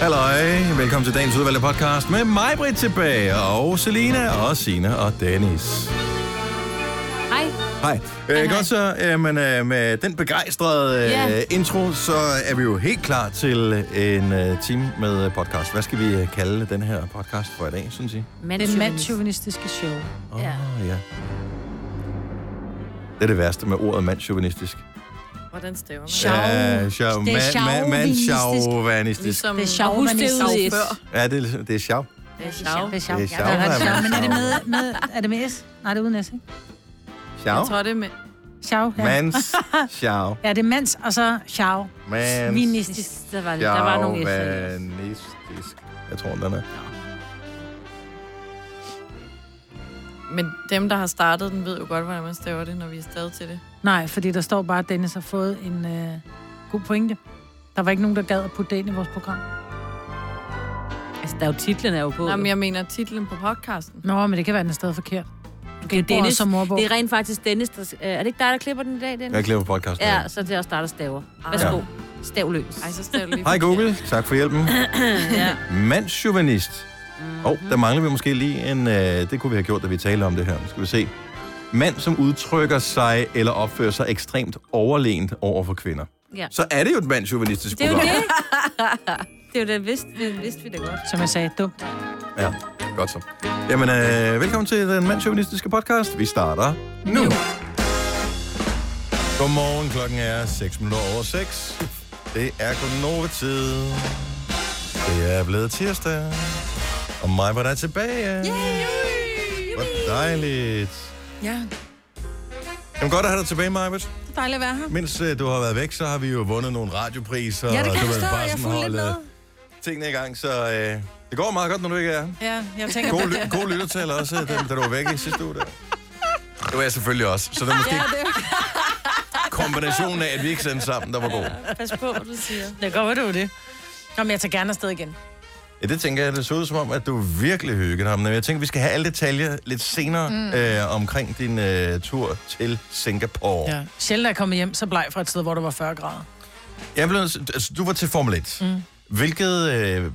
Halløj, velkommen til dagens udvalgte podcast med mig, Britt, tilbage, og Selina, og Sina og Dennis. Hej. Hej. Øh, godt så, øh, men øh, med den begejstrede øh, Ja. intro, så er vi jo helt klar til en øh, time med øh, podcast. Hvad skal vi øh, kalde den her podcast for i dag, synes I? Det mandsjuvenistiske show. Åh, oh, ja. Det er det værste med ordet mandsjuvenistisk. Hvordan staver man? Sjov. Ja, sjov. Det er Man- man- sjauvinistisk. Mandsjauvanistisk. Ligesom Det er sjov, man ikke sjov før. Ja, det er, det er sjov. Det er sjov. Det er sjov. Det er Ja, sjov, det er ret man. sjov. Men er det med, med, er det med S? Nej, det er uden S, ikke? Sjov. Jeg tror, det er med... Sjov, ja. Mans. Sjov. Ja, det er mands, og så sjov. Mans. Vinistisk. Der var, der var nogle F'er. Sjauvanistisk. Jeg tror, den er. Men dem, der har startet den, ved jo godt, hvordan man staver det, når vi er stadig til det. Nej, fordi der står bare, at Dennis har fået en øh, god pointe. Der var ikke nogen, der gad at putte det ind i vores program. Altså, der er jo titlen er jo på. Nå, men jeg mener titlen på podcasten. Nå, men det kan være, den er stadig forkert. det er jo Dennis, Dennis. som morbog. Det er rent faktisk Dennis, der... øh, Er det ikke dig, der klipper den i dag, Dennis? Jeg glemmer podcasten. Ja, så det er også dig, der staver. Værsgo. Ja. Stav løs. Ah. Ej, så staver det lige. Hej Google, tak for hjælpen. Ja. Mandsjuvenist. Mhm. Åh, oh, der mangler vi måske lige en... Øh, det kunne vi have gjort, da vi talte om det her. Nu skal vi se. Mand, som udtrykker sig eller opfører sig ekstremt overlænt over for kvinder. Ja. Så er det jo et mandsjuvenistisk Det er jo program. det. Det er jo det, vidste, det vidste vi da godt. Som jeg sagde, dumt. Ja, godt så. Jamen, øh, velkommen til den mandsjovinistiske podcast. Vi starter nu. Godmorgen, klokken er 6 minutter over 6. Det er Gunova-tid. Det er blevet tirsdag. Og mig var der tilbage. Yay! Hvor dejligt. Ja, Jamen godt at have dig tilbage, Majbert. det er dejligt at være her. Mens øh, du har været væk, så har vi jo vundet nogle radiopriser. Ja, det og så har kan jeg vi forstå. bare Jeg sådan fulgte lidt med. holdet Tingene i gang, så øh, det går meget godt, når du ikke er her. Ja, jeg tænker... God, ly- god lyttertal også, da, da du var væk i sidste uge. Der. Det var jeg selvfølgelig også. Så det var måske kombinationen af, at vi ikke sendte sammen, der var god. Pas på, hvad du siger. Det går, du det. Nå, men jeg tager gerne afsted igen. Ja, det tænker jeg, det så ud som om, at du virkelig hyggede ham. Men jeg tænker, vi skal have alle detaljer lidt senere mm. øh, omkring din øh, tur til Singapore. Ja. Ja. Sjældent er jeg kommet hjem så bleg fra et sted, hvor der var 40 grader. Jeg blev, nødt til- altså, du var til Formel 1. Mm. Hvilket... Øh,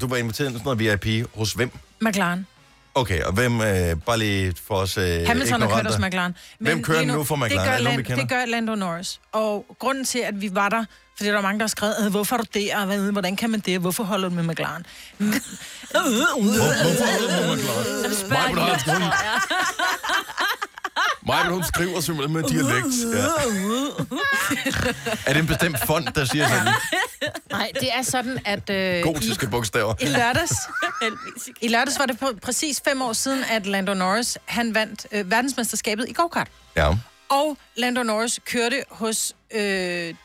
du var inviteret til sådan noget VIP hos hvem? McLaren. Okay, og hvem... Øh, bare lige for os... Øh, Hamilton har kørt ignoranter. hos McLaren. Hvem kører lige nu for McLaren? Det Er gør, der nogen, vi Land, kender? det gør Lando Norris. Og grunden til, at vi var der, fordi der var mange, der skrev, "Øh, hvorfor er du der, og hvad- hvordan kan man det, hvorfor holder du med McLaren? Mm. Hvor- Hvorfor er det nummer klart? Michael har haft hund. Michael, hun skriver simpelthen med dialekt. Ja. Er det en bestemt fond, der siger sådan Nej, det er sådan, at øh, gotiske bogstaver? i lørdags, i lørdags var det på, præcis fem år siden, at Lando Norris han vandt øh, verdensmesterskabet i go-kart. Ja. Og Lando Norris kørte hos øh,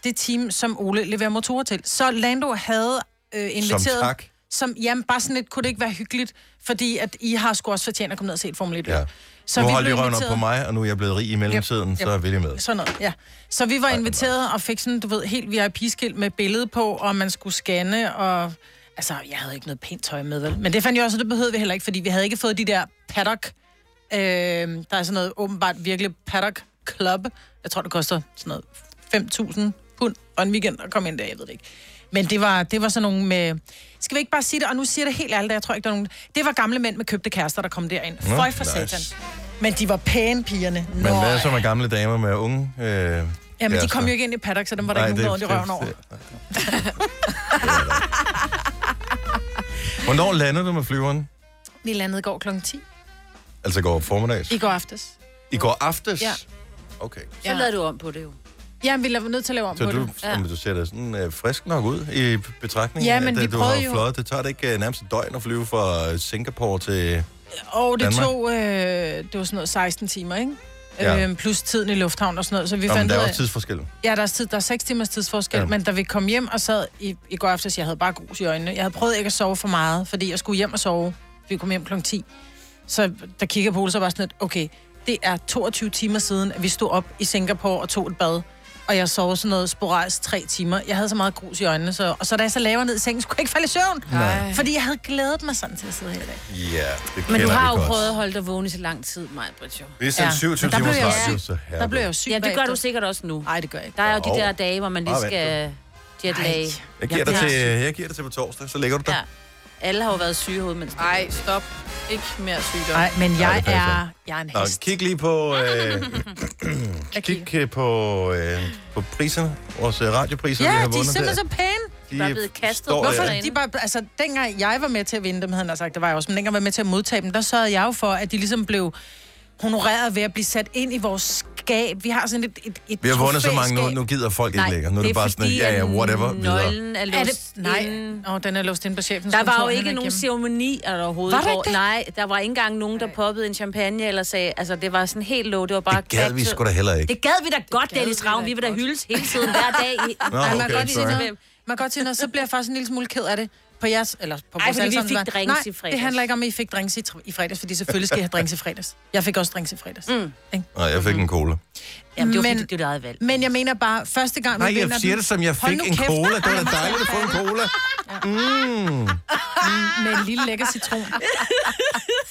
det team, som Ole leverer motorer til. Så Lando havde øh, inviteret... tak. Som, jamen, bare sådan lidt, kunne det ikke være hyggeligt, fordi at I har sgu også fortjent at komme ned og se et Formel 1 ja. Så nu vi holdt I blev røven op inviteret- på mig, og nu er jeg blevet rig i mellemtiden, så vil I med. Sådan noget, ja. Så vi var inviteret og fik sådan, du ved, helt VIP-skilt med billede på, og man skulle scanne, og... Altså, jeg havde ikke noget pænt tøj med, vel? Men det fandt jeg også, at det behøvede vi heller ikke, fordi vi havde ikke fået de der paddock... Øh, der er sådan noget åbenbart virkelig paddock club. Jeg tror, det koster sådan noget 5.000 pund og en weekend at komme ind der, jeg ved det ikke. Men det var, det var sådan nogle med... Skal vi ikke bare sige det? Og nu siger jeg det helt ærligt, jeg tror ikke, der er nogen... Det var gamle mænd med købte kærester, der kom derind. Nå, Føj for nice. satan. Men de var pæne, pigerne. Men Nå, hvad er ja. så med gamle damer med unge? Øh, Jamen, de kom jo ikke ind i paddock, så dem var der ikke nogen, der røven over. Hvornår lander du med flyveren? Vi landede i går kl. 10. Altså i går formiddags? I går aftes. I går aftes? Ja. Okay. Så lavede du om på det jo. Jamen, vi var nødt til at lave om Så på du, det. ja. du ser da sådan øh, frisk nok ud i betragtning Ja, af, men at øh, vi du prøvede har jo- fløjet. Det tager det ikke øh, nærmest et døgn at flyve fra øh, Singapore til... Og det Danmark. tog, øh, det var sådan noget 16 timer, ikke? Ja. Ja. Øhm, plus tiden i lufthavn og sådan noget. Så vi Nå, men fandt der ud er af, også tidsforskel. ja, der er, tid, der er 6 timers tidsforskel, Ja. ja. men da vi kom hjem og sad i, i går aftes, jeg havde bare grus i øjnene. Jeg havde prøvet ikke at sove for meget, fordi jeg skulle hjem og sove. Vi kom hjem kl. 10. Så der kigger på Ole, så var jeg sådan lidt, okay, det er 22 timer siden, at vi stod op i Singapore og tog et bad. Og jeg sov sådan noget sporadisk tre timer. Jeg havde så meget grus i øjnene, så, og så da jeg så laver ned i sengen, skulle jeg ikke falde i søvn. Nej. Fordi jeg havde glædet mig sådan til at sidde her i dag. Ja, det Men du kender vi har jo godt. prøvet at holde dig vågen i så lang tid, Maja Britt, jo. Vi er sendt Ja, 27 men der timers blev jeg radio, syg. så her. Der blev jeg jo syg Ja, det gør bagefter. du sikkert også nu. Nej, det gør jeg ikke. Der er jo de Jo. der dage, hvor man lige Bare vent skal... Jetlag. Ej. Jeg giver, dig Jeg bliver til, jeg giver dig til på torsdag, så lægger du dig. Ja. Alle har jo været syge i hovedet, mens de- Ej, stop. Ikke mere sygdom. Nej, men Nej, jeg det passer er, jeg er en Nå, hest. kig lige på, øh, kig øh, på, øh, på priserne, vores øh, radiopriser, vi Ja, har de er vundet simpelthen så pæne. de Der er blevet kastet. står, Hvorfor Hvorfor? øh, Ja. De bare, altså, dengang jeg var med til at vinde dem, havde han sagt, det var jeg også, men dengang jeg var med til at modtage dem, der sørgede jeg jo for, at de ligesom blev honoreret ved at blive sat ind i vores skab. Vi har sådan et, et, et Vi har vundet så mange trofæskab. nu, nu gider folk ikke Nej, længere. Nu er det, bare sådan, fordi, ja, ja, at whatever, videre. Nøglen er Er låst det? Nej. inde. Åh, oh, den er låst inde på chefens Mm. Der var kontor, jo han ikke er nogen hjemme. ceremoni eller overhovedet. Var der hvor- ikke det? Nej, der var ikke engang nogen, der poppede en champagne eller sagde, altså det var sådan helt low, det var bare Det gad vi catch- sgu da heller ikke. Det gad vi da godt, gad Dennis vi da Ravn. Vi vil da godt. hyldes hele tiden, hver dag. I... Nå, man okay, kan godt sige sorry. noget. Man kan godt sige noget, så bliver jeg faktisk en lille smule ked af det. På jeres, eller på Ej, vores fordi alle vi sammen fik vegne. drinks Nej, i fredags. det handler ikke om, at I fik drinks i, tr- i fredags, fordi selvfølgelig skal I have drinks i fredags. Jeg fik også drinks i fredags. Mm. Nej, jeg fik en cola. Jamen, det var Men- fordi, det er dit eget valg. Men jeg mener bare, første gang, man Nej, vinder jeg siger den- det, som jeg Hold fik nu en kæft. cola. Det var da dejligt at få en cola. med en lille lækker citron.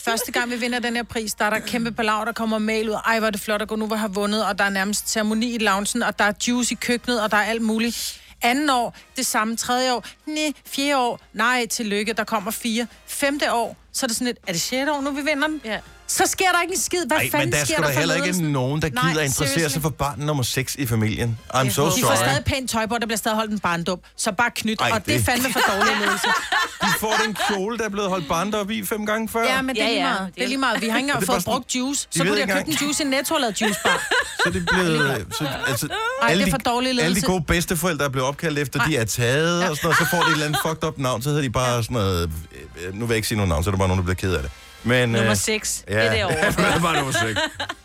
Første gang, vi vinder den her pris, der er der kæmpe palav, der kommer mail ud. Ej, hvor er det flot at gå nu, hvor har vundet, og der er nærmest ceremoni i loungen, og der er juice i køkkenet, og der er alt muligt. Anden år, det samme. Tredje år, nej. Fjerde år, nej, tillykke, der kommer fire. Femte år, så er det sådan et, er det sjette år nu, vi vinder den? Ja. Så sker der ikke en skid. Hvad Nej, fanden men der sker skulle der der for heller ledelsen? ikke nogen, der gider Nej, interessere sig seriously. for barn nummer 6 i familien. I'm so De får sorry. stadig pænt tøj på, og der bliver stadig holdt en barndom. Så bare knyt, Ej, Ej, og det er det- fandme for dårlig ledelse. De får den kjole, der er blevet holdt barn op i fem gange før. Ja, men det er Ja, lige ja, meget. det Det er- er lige meget. Vi har ikke engang Det er bare fået sådan- brugt juice. Vi Så ved kunne jeg ikke købe en engang- juice i Netto og lavet juicebar. Så det er blevet... Så, altså, Ej, alle det er de- for dårlig Alle de ledelse. gode bedsteforældre, der blev opkaldt efter, de er taget og sådan noget. Så får de et eller andet fucked up navn, så hedder de bare sådan noget... øh, øh, Nu vil jeg ikke sige nogen navn, så er der bare nogen, der bliver ked af det. Men, Nummer øh, 6, Ja, det er derovre. det er bare nummer 6.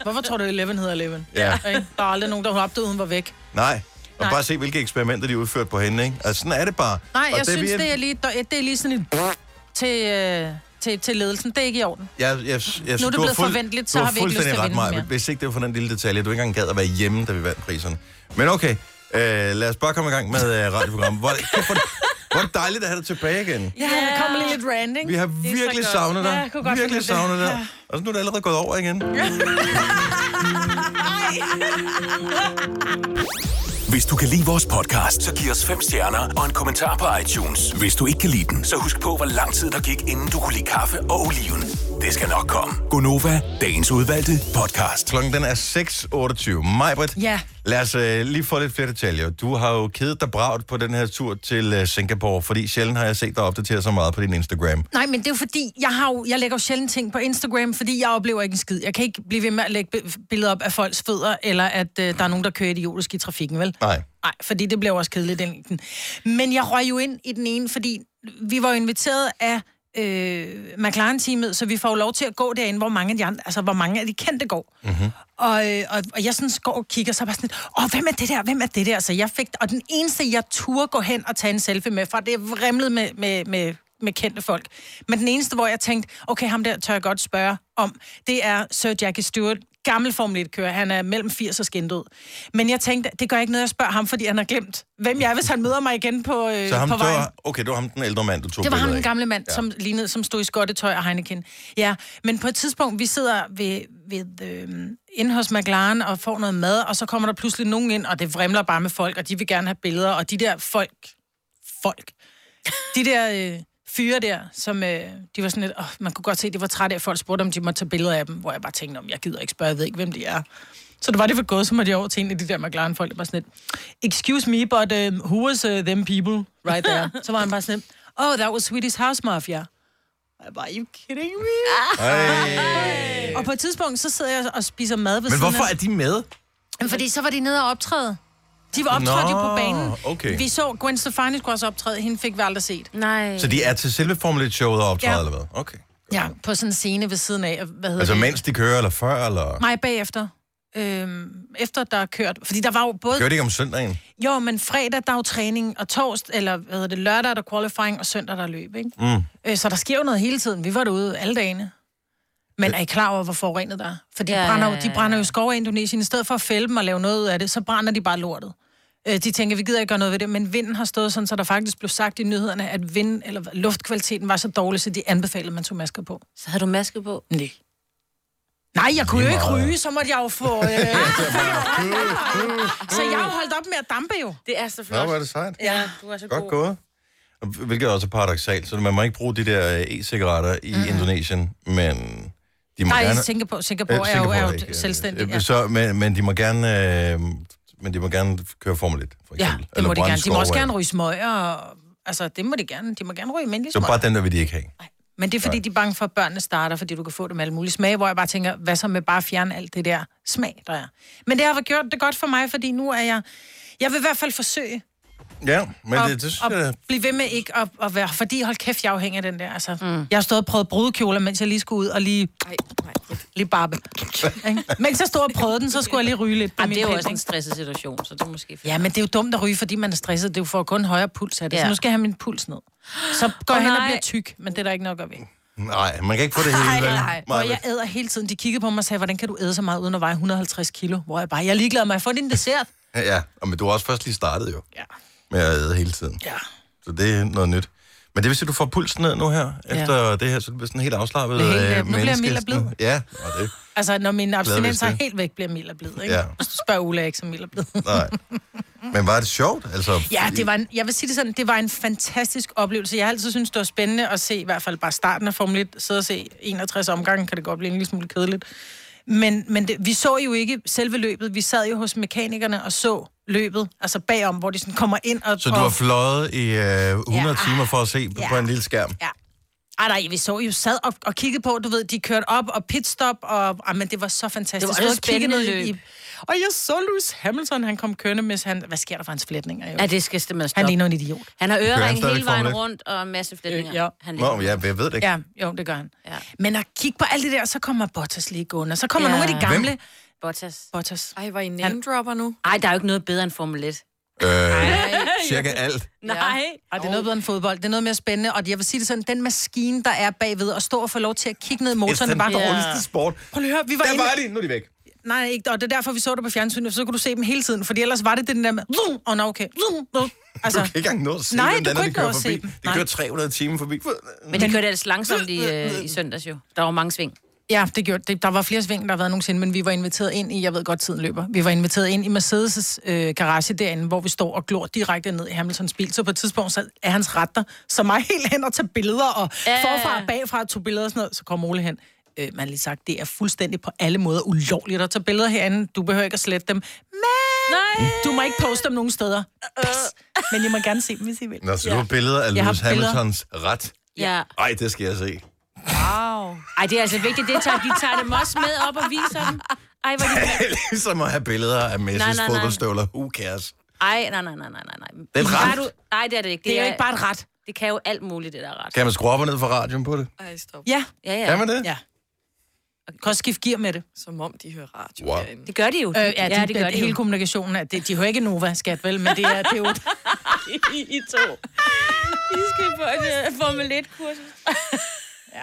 Hvorfor tror du, Eleven hedder Eleven? Ja. Ikke? Der er aldrig nogen, der hun opdagede, hun var væk. Nej. Og Nej. bare se, hvilke eksperimenter de udførte på hende, ikke? Altså, sådan er det bare. Nej, og jeg det, synes, vi det er, lige, det er lige sådan en til, øh, til, til ledelsen. Det er ikke i orden. Jeg, jeg, jeg, jeg, det du har blevet fuld- forventeligt, så du har vi ikke lyst til at fuldstændig vinde ret mere. meget. Hvis ikke det var for den lille detalje, du ikke engang gad at være hjemme, da vi vandt priserne. Men okay, øh, lad os bare komme i gang med øh, radioprogrammet. Hvor, kæft, hvor, hvor er det dejligt at have dig tilbage igen. Ja, der kommer lige lidt randing. Vi har virkelig savnet dig. Ja, jeg kunne godt virkelig lide det. savnet dig. Og så nu er det allerede gået over igen. Hvis du kan lide vores podcast, så giv os fem stjerner og en kommentar på iTunes. Hvis du ikke kan lide den, så husk på, hvor lang tid der gik, inden du kunne lide kaffe og oliven. Det skal nok komme. Gonova, dagens udvalgte podcast. Klokken den er 6.28. Majbrit, Ja. lad os øh, lige få lidt flere detaljer. Du har jo kedet dig bragt på den her tur til øh, Singapore, fordi sjældent har jeg set dig opdatere så meget på din Instagram. Nej, men det er jo fordi, jeg, har jo, jeg lægger jo sjældent ting på Instagram, fordi jeg oplever ikke en skid. Jeg kan ikke blive ved med at lægge bi- billeder op af folks fødder, eller at øh, der er nogen, der kører idiotisk i trafikken, vel? Nej. Nej, fordi det blev også kedeligt den. den. Men jeg røg jo ind i den ene, fordi vi var jo inviteret af øh, McLaren-teamet, så vi får jo lov til at gå derinde, hvor mange af de, andre, altså, hvor mange af de kendte går. Mm-hmm. Og, øh, og, og, jeg sådan går og kigger, så er jeg bare sådan, lidt, åh, hvem er det der, hvem er det der? Så jeg fik, og den eneste, jeg turde gå hen og tage en selfie med, for det er vrimlet med, med, med, med kendte folk. Men den eneste, hvor jeg tænkte, okay, ham der tør jeg godt spørge om, det er Sir Jackie Stewart, gammel Formel 1-kører. Han er mellem 80 og skændt ud. Men jeg tænkte, det gør ikke noget, jeg spørger ham, fordi han har glemt, hvem jeg er, hvis han møder mig igen på, øh, Så ham, på det vejen. var, okay, det var ham den ældre mand, du tog Det var ham, billeder den af. gamle mand, ja. som lignede, som stod i skottetøj og Heineken. Ja, men på et tidspunkt, vi sidder ved, ved øh, inde hos McLaren og får noget mad, og så kommer der pludselig nogen ind, og det vrimler bare med folk, og de vil gerne have billeder, og de der folk, folk, de der øh, fyre der, som øh, de var sådan lidt, åh, man kunne godt se, de var trætte af, at folk spurgte, om de måtte tage billeder af dem, hvor jeg bare tænkte, om jeg gider ikke spørge, jeg ved ikke, hvem de er. Så det var det for gået, så måtte jeg over til en af de der McLaren-folk, der var sådan lidt, excuse me, but um, who was uh, them people right there? så var han bare sådan lidt, oh, that was Swedish House Mafia. Jeg var, you kidding me? Ej. Og på et tidspunkt, så sidder jeg og spiser mad ved Men siden af- hvorfor er de med? Jamen, fordi så var de nede og optræde. De var optrådt jo på Nå, banen. okay. Vi så Gwen Stefani skulle også optræde, hende fik vi aldrig set. Nej. Så de er til selve Formel 1-showet og optræder, ja. Ja. eller hvad? Okay. Ja, på sådan en scene ved siden af. Hvad hedder Altså det? mens de kører, eller før, eller... Nej, bagefter. Øhm, efter der er kørt. Fordi der var jo både... Kører de ikke om søndagen? Jo, men fredag, der er jo træning, og torsdag, eller hvad hedder det, lørdag er der qualifying, og søndag der er løb, ikke? Mm. Øh, så der sker jo noget hele tiden. Vi var derude alle dagene. Men er I klar over, hvor forurenet der er? For de, Ja, ja, brænder, jo- ja, ja, de brænder jo skov i Indonesien. I stedet for at fælde dem og lave noget ud af det, så brænder de bare lortet. Øh, de tænker, vi gider ikke gøre noget ved det, men vinden har stået sådan, så der faktisk blev sagt i nyhederne, at vind, eller luftkvaliteten var så dårlig, så de anbefalede, at man tog masker på. Så havde du maske på. Nej. Nej, jeg kunne jo Lige ikke meget. ryge, så måtte jeg jo få... Øh... så jeg har jo holdt op med at dampe jo. Det er så Nå, flot. hvor er det sejt. Ja, du er så Godt gået. Hvilket også er paradoxalt, så man må ikke bruge de der øh, e-cigaretter i mm. Indonesien, men de må Nej, gerne... i Singapore, Singapore, Øh, er jo, er jo ikke, øh, selvstændig. øh, Ja. Så, men, men, de må gerne, øh, men de må gerne køre Formel 1, for ja, eksempel. det må de brænde gerne. De må også skove af. gerne ryge smøger. og- Altså, det må de gerne. De må gerne ryge almindelige Så smøger. bare den der vil de ikke have. Men det er, fordi de er bange for, at børnene starter, fordi du kan få dem alle mulige smage, hvor jeg bare tænker, hvad så med bare at fjerne alt det der smag, der er. Men det har gjort det godt for mig, fordi nu er jeg... Jeg vil i hvert fald forsøge Ja, men at, det, det synes at, jeg... at blive ved med ikke at, at være... Fordi hold kæft, jeg er afhængig af den der. Altså, mm. Jeg har stået og prøvet brudekjoler, mens jeg lige skulle ud og lige, Nej, nej. lige barbe. Ikke? mens jeg stod og prøvede den, så skulle jeg lige ryge lidt på Ej, min det er jo pind. også en stresset situation, så det er måske... Ja, men det er jo dumt at ryge, fordi man er stresset. Det er jo for kun højere puls af det. Ja. Så Ja. nu skal jeg have min puls ned. Så går jeg hen og nej. bliver tyk, men det er der ikke nok at ved. Nej, man kan ikke få det hele. vel? Nej, Maja? og jeg æder hele tiden. De kiggede på mig og sagde, hvordan kan du æde så meget, uden at veje 150 kilo? Hvor jeg bare, jeg er ligeglad med at få din dessert. Ja, og men du har også først lige startet jo. Ja. Med at æde hele tiden. Ja. Så det er noget nyt. Men det vil sige, at du får pulsen ned nu her, efter det her, så du bliver sådan helt afslappet Det er helt, øh, øh, nu bliver jeg menneske. mild og blid. Ja, og det, Altså, når min abstinens hvis er det. helt væk, bliver mild og blid, ikke? Ja. Ja. Så spørger Ulla, jeg ikke så mild og blid. nej. Men var det sjovt? Altså, Ja, det var en, jeg vil sige det sådan, det var en fantastisk oplevelse. Jeg har altid synes det var spændende at se, i hvert fald bare starten af Formel 1, sidde og se 61 omgange, kan det godt blive en lille smule kedeligt. Men, men det, vi så jo ikke selve løbet, vi sad jo hos mekanikerne og så løbet, altså bagom, hvor de sådan kommer ind og... Så du og, har fløjet i øh, 100 ja. Ja. timer for at se ja. på en lille skærm? Ja. Ej, nej, vi så jo sad og, og kiggede på, du ved, de kørte op og pitstop, og ah, men det var så fantastisk. Det var et Jeg kiggede spændende ned løb. og jeg så Lewis Hamilton, han kom kørende med han, hvad sker der for hans flætninger? Jo? Ja, det skal simpelthen han stoppe. ligner en idiot. Han har han ørering stadigvæk hele vejen Formel 1? rundt og en masse flætninger. Øh, ja. Han Nå, ja, jeg ved det ikke. Ja, jo, det gør han. Ja. Men at kigge på alt det der, så kommer Bottas lige gående, og så kommer ja. Ja. nogle af de gamle... Hvem? Hvem? Bottas. Bottas. Ej, var I name-dropper nu? Ej, der er jo ikke noget bedre end Formel 1. Øh, cirka alt. Nej. Og det er noget bedre end fodbold. Det er noget mere spændende, og jeg vil sige det sådan, den maskine, der er bagved, at stå og få lov til at kigge ned i Det er motoren, det den er bare... Ja. dårligste sport. Prøv lige at høre, vi var Der inde- var de, nu er de væk. Nej, ikke, og det er derfor, vi så det på fjernsynet, for så kunne du se dem hele tiden, for ellers var det den der med, vum, og nå, okay, vum, vum. Du kan Altså, ikke engang nå at se, Nej, hvem du den er, kunne de ikke kører nå at se forbi. dem. De Nej. kører 300 timer forbi. Men det kørte altså langsomt i, øh, i søndags jo. Der var mange sving. ja, det gjorde det. Der var flere sving, der har været nogensinde, men vi var inviteret ind i, jeg ved godt, tiden løber. Vi var inviteret ind i Mercedes' øh, garage derinde, hvor vi står og glor direkte ned i Hamiltons bil. Så på et tidspunkt så er hans retter, så mig helt hen og tager billeder, og Ja. forfra og bagfra tog billeder og sådan noget, så kommer Ole hen. Øh, man har lige sagt, det er fuldstændig på alle måder ulovligt at tage billeder herinde. Du behøver ikke at slette dem. Men Nej. du må ikke poste dem nogen steder. Pis. Øh. Men I må gerne se dem, hvis I vil. Nå, så du har billeder af Jeg har Lewis billeder. Hamiltons ret. Ja. Ej, det skal jeg se. Wow. Ej, det er altså vigtigt, det tager, de tager dem også med op og viser dem. Ej, hvor er de... ligesom at have billeder af Nej, Messis nej, nej. fodboldstøvler. Who cares? Ej, nej, nej, nej, nej, nej. er et ret. Nej, det er det ikke. Det er jo ikke bare et ret. Det kan jo alt muligt, det der er ret. Kan man skrue op og ned for radioen på det? Ej, stop. Ja. Ja, ja. Kan man det? Ja. Og kan også skifte gear med det. Som om de hører radio Wow. wow. derinde. Det gør de jo. Øh, ja, de, ja, det gør de hele jo. kommunikationen, er, det, de hører ikke Nova, skat, vel, men det er, det er jo... I to. I skal på et uh, Formel 1-kursus. Ja.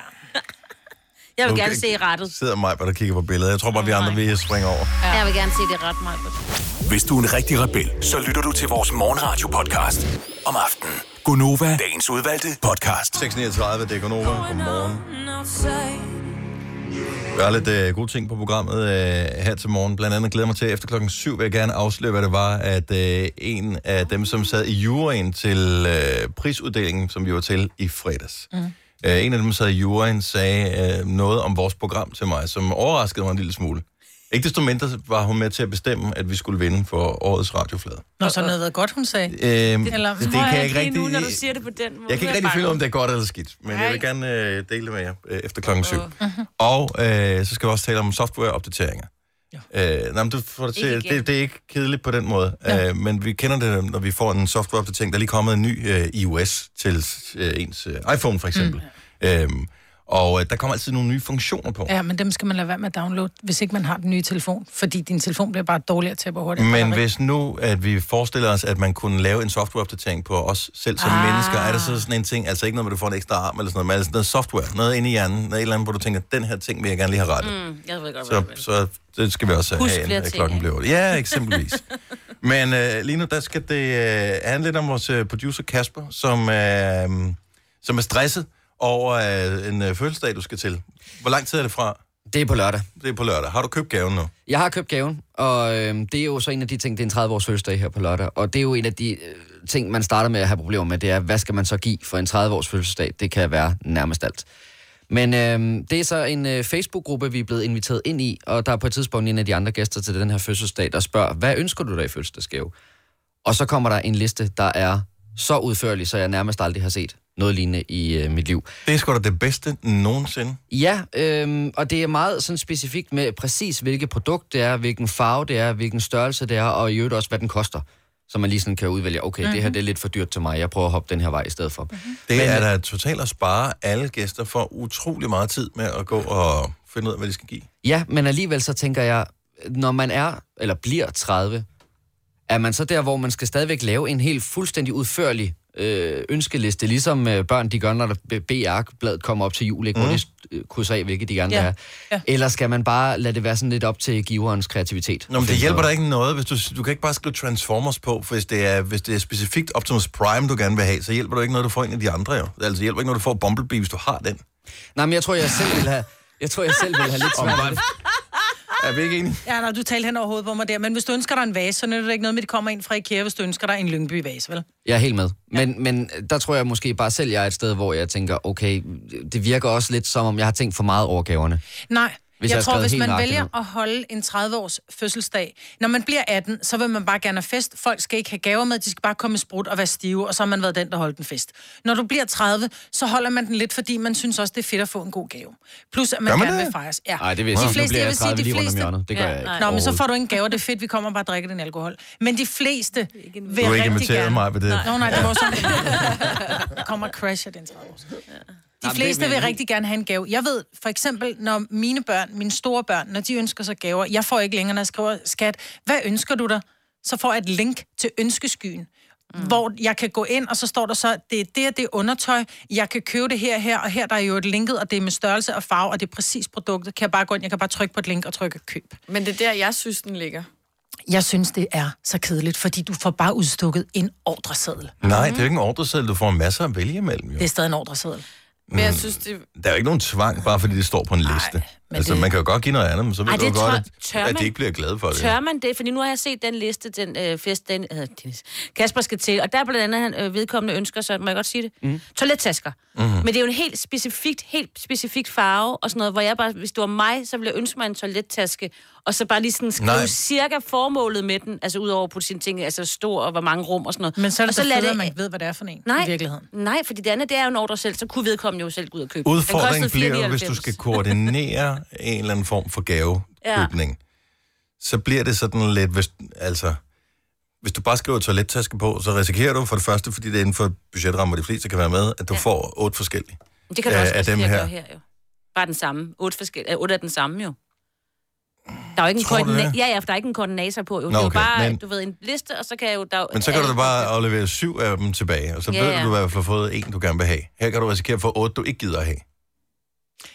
Jeg vil Okay. gerne se rettet. Sidder mig, hvor der kigger på billeder. Jeg tror bare, vi andre vil springe over. Ja. Jeg vil gerne se det ret meget. Hvis du er en rigtig rebel, så lytter du til vores morgenradio-podcast om aftenen. Gunova, dagens udvalgte podcast. 6.39, det er Gonova. Godmorgen. Der er lidt øh, gode ting på programmet øh, her til morgen. Blandt andet glæder jeg mig til, at efter klokken 7 vil jeg gerne afsløre, hvad det var, at øh, en af dem, som sad i juryen til øh, prisuddelingen, som vi var til i fredags. Mm. Øh, en af dem, som sad i juryen, sagde øh, noget om vores program til mig, som overraskede mig en lille smule. Ikke desto mindre var hun med til at bestemme, at vi skulle vinde for årets radioflade. Nå, så noget været godt, hun sagde. Øhm, Eller- det, det Tror kan jeg jeg ikke ikke Lige rigtig... nu, når du siger det på den måde. Jeg kan ikke rigtig finde ud af, om det er godt eller skidt, men jeg vil gerne øh, dele det med jer øh, efter klokken syv. Mhm. Og øh, så skal vi også tale om softwareopdateringer. Øh, nej, men du får det, Ikke til, igen. det, det er ikke kedeligt på den måde, ja. øh, men vi kender det, når vi får en softwareopdatering. Der er lige kommet en ny øh, iOS til øh, ens øh, iPhone, for eksempel. Mm. Øhm, og øh, der kommer altid nogle nye funktioner på. Ja, men dem skal man lade være med at downloade, hvis ikke man har den nye telefon. Fordi din telefon bliver bare dårligere til at bruge hurtigt. Men hvis nu, at vi forestiller os, at man kunne lave en softwareopdatering på os selv som ah. mennesker, er der så sådan en ting, altså ikke noget, hvor du får en ekstra arm eller sådan noget, men altså noget software, noget inde i hjernen, noget et eller andet, hvor du tænker, den her ting vil jeg gerne lige have rettet. Mm. Mm, jeg ved godt, hvad Så, du mener. så det skal vi også Husk have, inden flere at ting, klokken ikke? bliver otte. Ja, eksempelvis. men øh, lige nu, der skal det øh, handle lidt om vores øh, producer Kasper, som, øh, som er stresset over øh, en øh, fødselsdag, du skal til. Hvor lang tid er det fra? Det er på lørdag. Det er på lørdag. Har du købt gaven nu? Jeg har købt gaven, og øh, det er jo så en af de ting, det er en 30-års fødselsdag her på lørdag, og det er jo en af de øh, ting, man starter med at have problemer med, det er, hvad skal man så give for en 30-års fødselsdag? Det kan være nærmest alt. Men øh, det er så en øh, Facebook-gruppe, vi er blevet inviteret ind i, og der er på et tidspunkt en af de andre gæster til den her fødselsdag, der spørger, hvad ønsker du dig i fødselsdagsgave? Og så kommer der en liste, der er så udførlig, så jeg nærmest aldrig har set noget lignende i øh, mit liv. Det er sgu da det bedste nogensinde. Ja, øhm, og det er meget sådan specifikt med præcis, hvilket produkt det er, hvilken farve det er, hvilken størrelse det er, og i øvrigt også, hvad den koster. Så man lige sådan kan udvælge, okay, mm-hmm. det Mhm. her det er lidt for dyrt til mig, jeg prøver at hoppe den her vej i stedet for. Mm-hmm. Det er da totalt at spare alle gæster for utrolig meget tid med at gå og finde ud af, hvad de skal give. Ja, men alligevel så tænker jeg, når man er, eller bliver 30, er man så der, hvor man skal stadigvæk lave en helt fuldstændig udførlig øh, ønskeliste, ligesom øh, børn de gør, når der BR-bladet kommer op til jul, ikke? hvor de øh, krydser af, hvilke de gerne vil Mhm. Ja. have. Ja. Eller skal man bare lade det være sådan lidt op til giverens kreativitet? Nå, men det hjælper dig ikke noget, hvis du, du kan ikke bare skrive Transformers på, for hvis det, er, hvis det er specifikt Optimus Prime, du gerne vil have, så hjælper det ikke noget, du får en af de andre jo. Altså, det hjælper ikke noget, du får Bumblebee, hvis du har den. Mm. Nej, men jeg tror, jeg selv vil have, jeg tror, jeg selv vil have lidt svært. ved det. Er vi ikke enige? Ja, nej, du talte hen over hovedet på mig der. Men hvis du ønsker dig en vase, så nytter det ikke noget med, at det kommer ind fra IKEA, hvis du ønsker dig en Lyngby-vase, vel? Jeg er helt med. Men, men der tror jeg måske bare selv, jeg er et sted, hvor jeg tænker, okay, det virker også lidt som om, jeg har tænkt for meget over gaverne. Nej, Hvis hvis jeg, jeg har jeg tror, skrevet hvis helt man nøjagtigt vælger ned. at holde en 30-års fødselsdag, når man bliver 18, så vil man bare gerne have fest. Folk skal ikke have gaver med, de skal bare komme i sprut og være stive, og så har man været den, der holdt den fest. Når du bliver 30, så holder man den lidt, fordi man synes også, det er fedt at få en god gave. Plus, at man, Gør man gerne det? vil fejres. Ja. Nej, det vil jeg sige. Nu bliver jeg vil sige, 30 lige rundt om fleste- hjørnet. Det gør jeg ikke. Nå, men så overhovedet. får du ingen gaver, det er fedt, vi kommer bare og drikker din alkohol. Men de fleste vil Du har rigtig ikke gerne... inviteret mig ved det. Nå, nej, det var sådan. Der kommer crash af den 30 år. men De det fleste vil jeg vil lige- rigtig gerne have en gave. Jeg ved for eksempel, når mine børn, mine store børn, når de ønsker sig gaver, jeg får ikke længere, når jeg skriver, skat, hvad ønsker du dig? Så får jeg et link til ønskeskyen, mm. hvor jeg kan gå ind, og så står der så, det er det og det er undertøj, jeg kan købe det her, her, og her, der er jo et linket, og det er med størrelse og farve, og det er præcis produktet, kan jeg bare gå ind, jeg kan bare trykke på et link og trykke køb. Men det er der, jeg synes, den ligger. Jeg synes, det er så kedeligt, fordi du får bare udstukket en ordreseddel. Nej, det er jo ikke en ordreseddel, du får masser at vælge imellem jo. Det er stadig en ordreseddel. Men Mm. jeg synes, det... Der er jo ikke nogen tvang, bare fordi det står på en liste. men altså, det- man kan jo godt give noget andet, men så ved Ej, du jo det tør- godt, at, tør at de man- ikke bliver glade for det. Tør man det? Fordi nu har jeg set den liste, den øh, fest, den, øh, Dennis, Kasper skal til, og der er blandt andet han øh, vedkommende ønsker, så må jeg godt sige det, mm. toilettasker. Mm-hmm. Men det er jo en helt specifikt, helt specifik farve og sådan noget, hvor jeg bare, hvis det var mig, så ville jeg ønske mig en toilettaske, og så bare lige sådan skrive Nej. Nej. cirka formålet med den, altså udover at putte sine ting, altså stor og hvor mange rum og sådan noget. Men så er og det så fedt, lad at man ikke ved, hvad det er for en Nej, i virkeligheden. Nej, fordi det andet, det er jo en ordre selv, så kunne vedkommende jo selv gå ud og købe. den. Den Udfordringen kostede bliver, jo, hvis du 94. skal koordinere en eller anden form for gavekøbning, ja. så bliver det sådan lidt, hvis, altså, hvis du bare skriver toilettaske på, så risikerer du for det første, fordi det er inden for budgetrammer, de fleste kan være med, at du ja. får otte forskellige. Det kan du af- også af dem dem her. her. Gøre her jo. Bare den samme. Otte, forskellige, otte af den samme jo. Der er jo ikke en Tror du koordinator. det? Ja, ja, for der er ikke en koordinator på. Jo. Nå, Nå, okay, det er okay, jo bare, men- men... du ved, en liste, og så kan jeg jo... Der, er jo Men så kan alle- du da bare aflevere syv af dem tilbage, og så Ja, ved ja. du, du i hvert fald har fået en, du gerne vil have. Her kan du risikere at få otte, du ikke gider at have.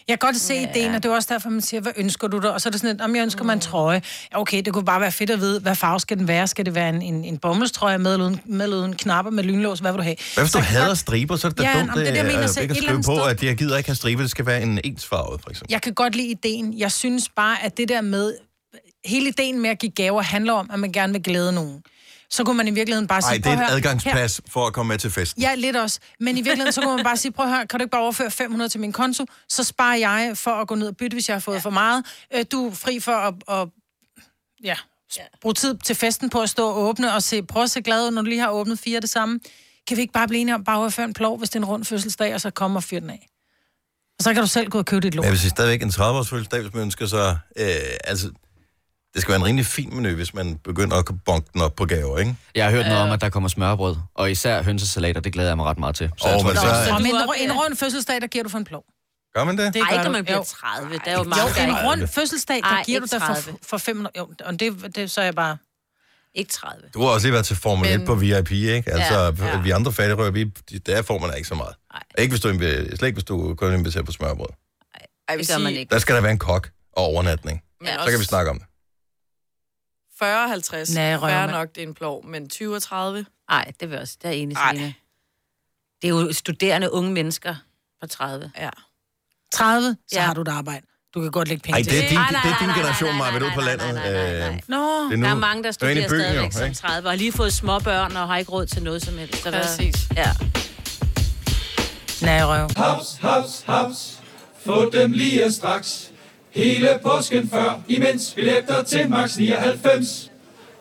Jeg kan godt se ja. Mm. ideen, og det er også derfor, man siger, hvad ønsker du dig? Og så er det sådan, om jeg ønsker mig en trøje. Ja, Okay, det kunne bare være fedt at vide, hvad farve skal den være? Skal det være en, en, en bommelstrøje med eller uden, med eller uden knapper, med lynlås? Hvad vil du have? Hvad hvis du Så- hader striber, så er det da Ja, dumt om det er det, jeg øh, mener, at så ikke et at eller skrive andet på, sted- at jeg gider ikke have striber, det skal være en ensfarvet, for eksempel. Jeg kan godt lide ideen. Jeg synes bare, at det der med... Hele ideen med at give gaver handler om, at man gerne vil glæde nogen. Så kunne man i virkeligheden bare sige... Nej, det er "Prøv at en høre, her- adgangsplads for at komme med til festen. Ja, lidt også. Men i virkeligheden, så kunne man bare sige, prøv at høre, kan du ikke bare overføre 500 til min konto? Så sparer jeg for at gå ned og bytte, hvis jeg har fået ja. for meget. Øh, Du er fri for at, at ja, s- bruge tid til festen på at stå og åbne og se, prøv at se glad ud, når du lige har åbnet fire af det samme. Kan vi ikke bare blive enige om bare at overføre en plov, hvis det er en rund fødselsdag, og så komme og fyre den af? Og så kan du selv gå og købe dit Men jeg lort. vil sige, stadigvæk en 30-års fødselsdag, hvis man ønsker sig... Øh, altså, det skal være en rimelig fin menu, hvis man begynder at bonke den op på gaver, ikke? Jeg har hørt noget om, Øh. at der kommer smørbrød, og især hønsesalater, det glæder jeg mig ret meget til. Så jeg Åh, tror, men det- så- Nå, men Du en, er op- en rund fødselsdag, der giver du for en plov. Gør man det? Det Ej, gør når man du. bliver Jo. 30. Der er jo Jo, mange, der en er rund fødselsdag, der Ej, giver du ikke dig for, 30. for 500... Jo, og det, det, så er jeg bare... ikke 30. Du har også lige været til Formel 1 på VIP, ikke? Altså, Ja, ja. vi andre fattigrøver, vi, de- der får man ikke så meget. Ikke hvis du, invi- slet ikke, hvis du kun inviterer på smørbrød. Jeg vil Det gør man sige, ikke. Der skal der være en kok og overnatning. men Så kan vi også snakke om det. 40-50. Nej, Nej, røv, Færre mand. nok, det er en plov, men 20 og 30. Nej, det vil jeg også. Der er enig, Ej. Signe. Det er jo studerende unge mennesker på 30. Ja. 30, så ja. Ja. har du et arbejde. Du kan godt lægge penge Ej, til det er din, Nej, nej, det er din nej, nej, generation, nej, nej, Maja, ude på nej, nej, landet. nej, nej, nej. Øh, Nå, det er nu- Der er mange, der det er inde i studerer byen, stadigvæk jo, som ikke? 30 og har lige fået småbørn og har ikke råd til noget som helst. Så hvad- Præcis. Ja. nej, røv. Haps, haps, haps. Få dem lige straks. Hele påsken før, imens billetter til max 99.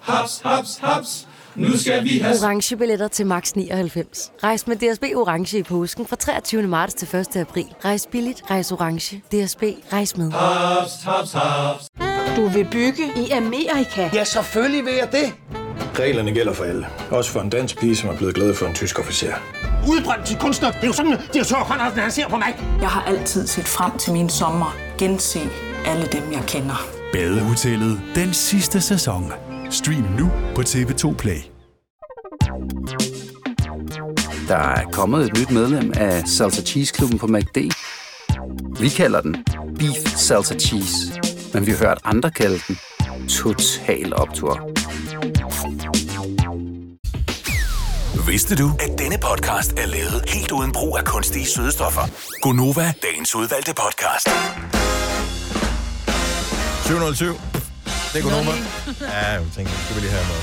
Haps, haps, haps. Nu skal vi have Orange billetter til max 99. Rejs med DSB Orange i påsken fra 23. marts til 1. april. Rejs billigt, rejs orange. DSB, rejs med. haps, haps, haps. Du vil bygge i Amerika? Ja, selvfølgelig vil jeg det. Reglerne gælder for alle. Også for en dansk pige, som er blevet glad for en tysk officer. Udbrøndt til kunstner. Det er jo sådan, at de har Conradsen, han ser på mig. Jeg har altid set frem til min sommer. Gense alle dem, jeg kender. Badehotellet den sidste sæson. Stream nu på TV2 Play. Der er kommet et nyt medlem af Salsa Cheese Klubben på MACD. Vi kalder den Beef Salsa Cheese. Men vi har hørt andre kalde den Total Optor. Vidste du, at denne podcast er lavet helt uden brug af kunstige sødestoffer? Gonova, dagens udvalgte podcast. 707. Det er Gunova. Ja, jeg tænker, skal vi lige have med.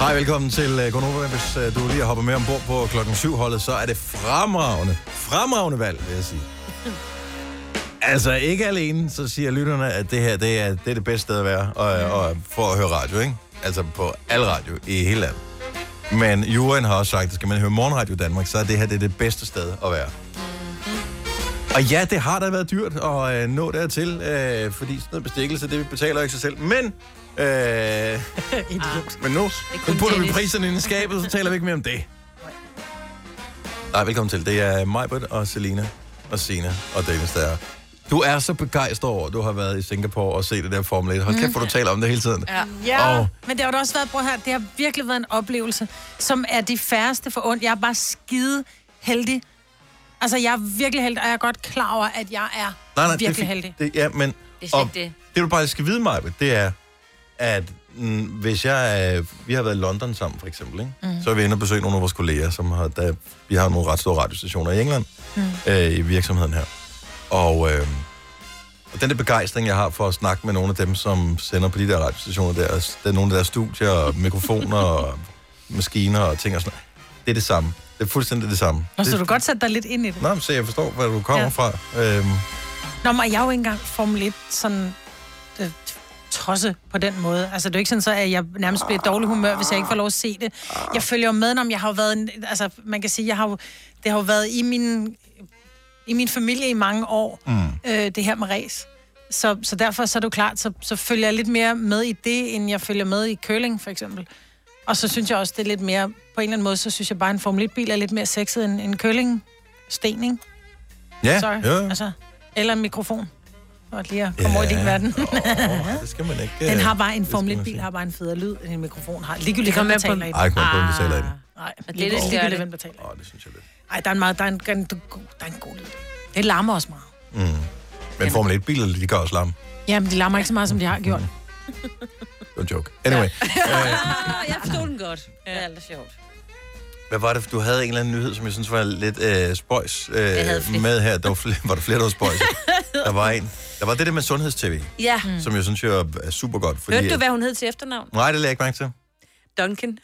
Hej, velkommen til øh, Gunova. Hvis øh, du lige hopper med ombord på klokken 7 holdet, så er det fremragende, fremragende valg, vil jeg sige. Altså, ikke alene, så siger lytterne, at det her, det er det, er det bedste sted at være og, og, for at høre radio, ikke? Altså på al radio i hele landet. Men Jurien har også sagt, at skal man høre morgenradio i Danmark, så er det her det, er det bedste sted at være. Og ja, det har da været dyrt at øh, nå dertil, øh, fordi sådan noget bestikkelse, det betaler ikke sig selv. Men, øh, men nu, nu putter vi priserne ind i skabet, så taler vi ikke mere om det. Nej, velkommen til. Det er Majbert og Selina og Sina og Dennis, der er. Du er så begejstret over, at du har været i Singapore og set det der Formel 1. Hold kæft, hvor du taler om det hele tiden. Ja. Ja, Og- oh. men det har da også været, bror her, det har virkelig været en oplevelse, som er de færreste for ondt. Jeg er bare skide heldig. Altså, jeg er virkelig heldig, og jeg er godt klar over, at jeg er Nej, nej, det er virkelig fint. heldig. Det, ja, men, Det er slet og, ikke det. det du bare skal vide, mig, det er, at mm, hvis jeg... Øh, vi har været i London sammen, for eksempel, ikke? Mhm. Mm. så er vi inde og besøge nogle af vores kolleger, som har... Der, vi har nogle ret store radiostationer i England, mm. Mhm. øh, i virksomheden her. Og, øh, og den der begejstring, jeg har for at snakke med nogle af dem, som sender på de der radiostationer der, og s- der er nogle af deres studier, og mikrofoner, og maskiner og ting og sådan noget, det er det samme. Det er fuldstændig det samme. Nå, så det, du godt sætte dig lidt ind i det. Nå, men se, jeg forstår, hvor du kommer Ja. ja. fra. Øhm, Nå, men jeg er jo ikke engang Formel 1 sådan øh, tosse på den måde. Altså, det er jo ikke sådan, så, at jeg nærmest bliver i dårlig humør, hvis jeg ikke får lov at se det. Jeg følger jo med, når jeg har jo været... en- Altså, man kan sige, jeg har jo, det har jo været i min, i min familie i mange år, mm. øh, det her med race. Så, så derfor så er det jo klart, så, så følger jeg lidt mere med i det, end jeg følger med i curling, for eksempel. Og så synes jeg også, det er lidt mere... På en eller anden måde, så synes jeg bare, at en Formel 1-bil er lidt mere sexet end en curling-sten, ikke? ja, Sorry. ja, Altså, eller en mikrofon. Og lige at komme Ja. over i din verden. Åh, det skal man ikke. Den øh, har bare en det skal Formel man 1-bil, sige. har bare en federe lyd, end en mikrofon har. Ligegyldigt, Det hvem kommer der an på taler i den. den. Ej, kom på, Ah. den betaler i den. Nej, det er det, der ligegyldigt, gør hvem der taler i den. Åh, det synes jeg lidt. Ej, der er en, meget, der er en, der er en, der er en god lyd. Det larmer også meget. Men Formel 1-biler, de gør også larm. Jamen, de larmer ikke så meget, som de har gjort. Det var en joke. Anyway, Ah, jeg forstod den godt. Ja. Det er aldrig sjovt. hvad var det? Du havde en eller anden nyhed, som jeg synes var lidt øh, spøjs øh, havde flere. med her. Der var, flere, var der flere, der var spøjs? der var en. Der var det der med sundhedstv, Ja. mm. som jeg synes jo er super godt. Fordi, Hørte du, hvad hun hed til efternavn? Nej, det lagde jeg ikke mærke til. Duncan.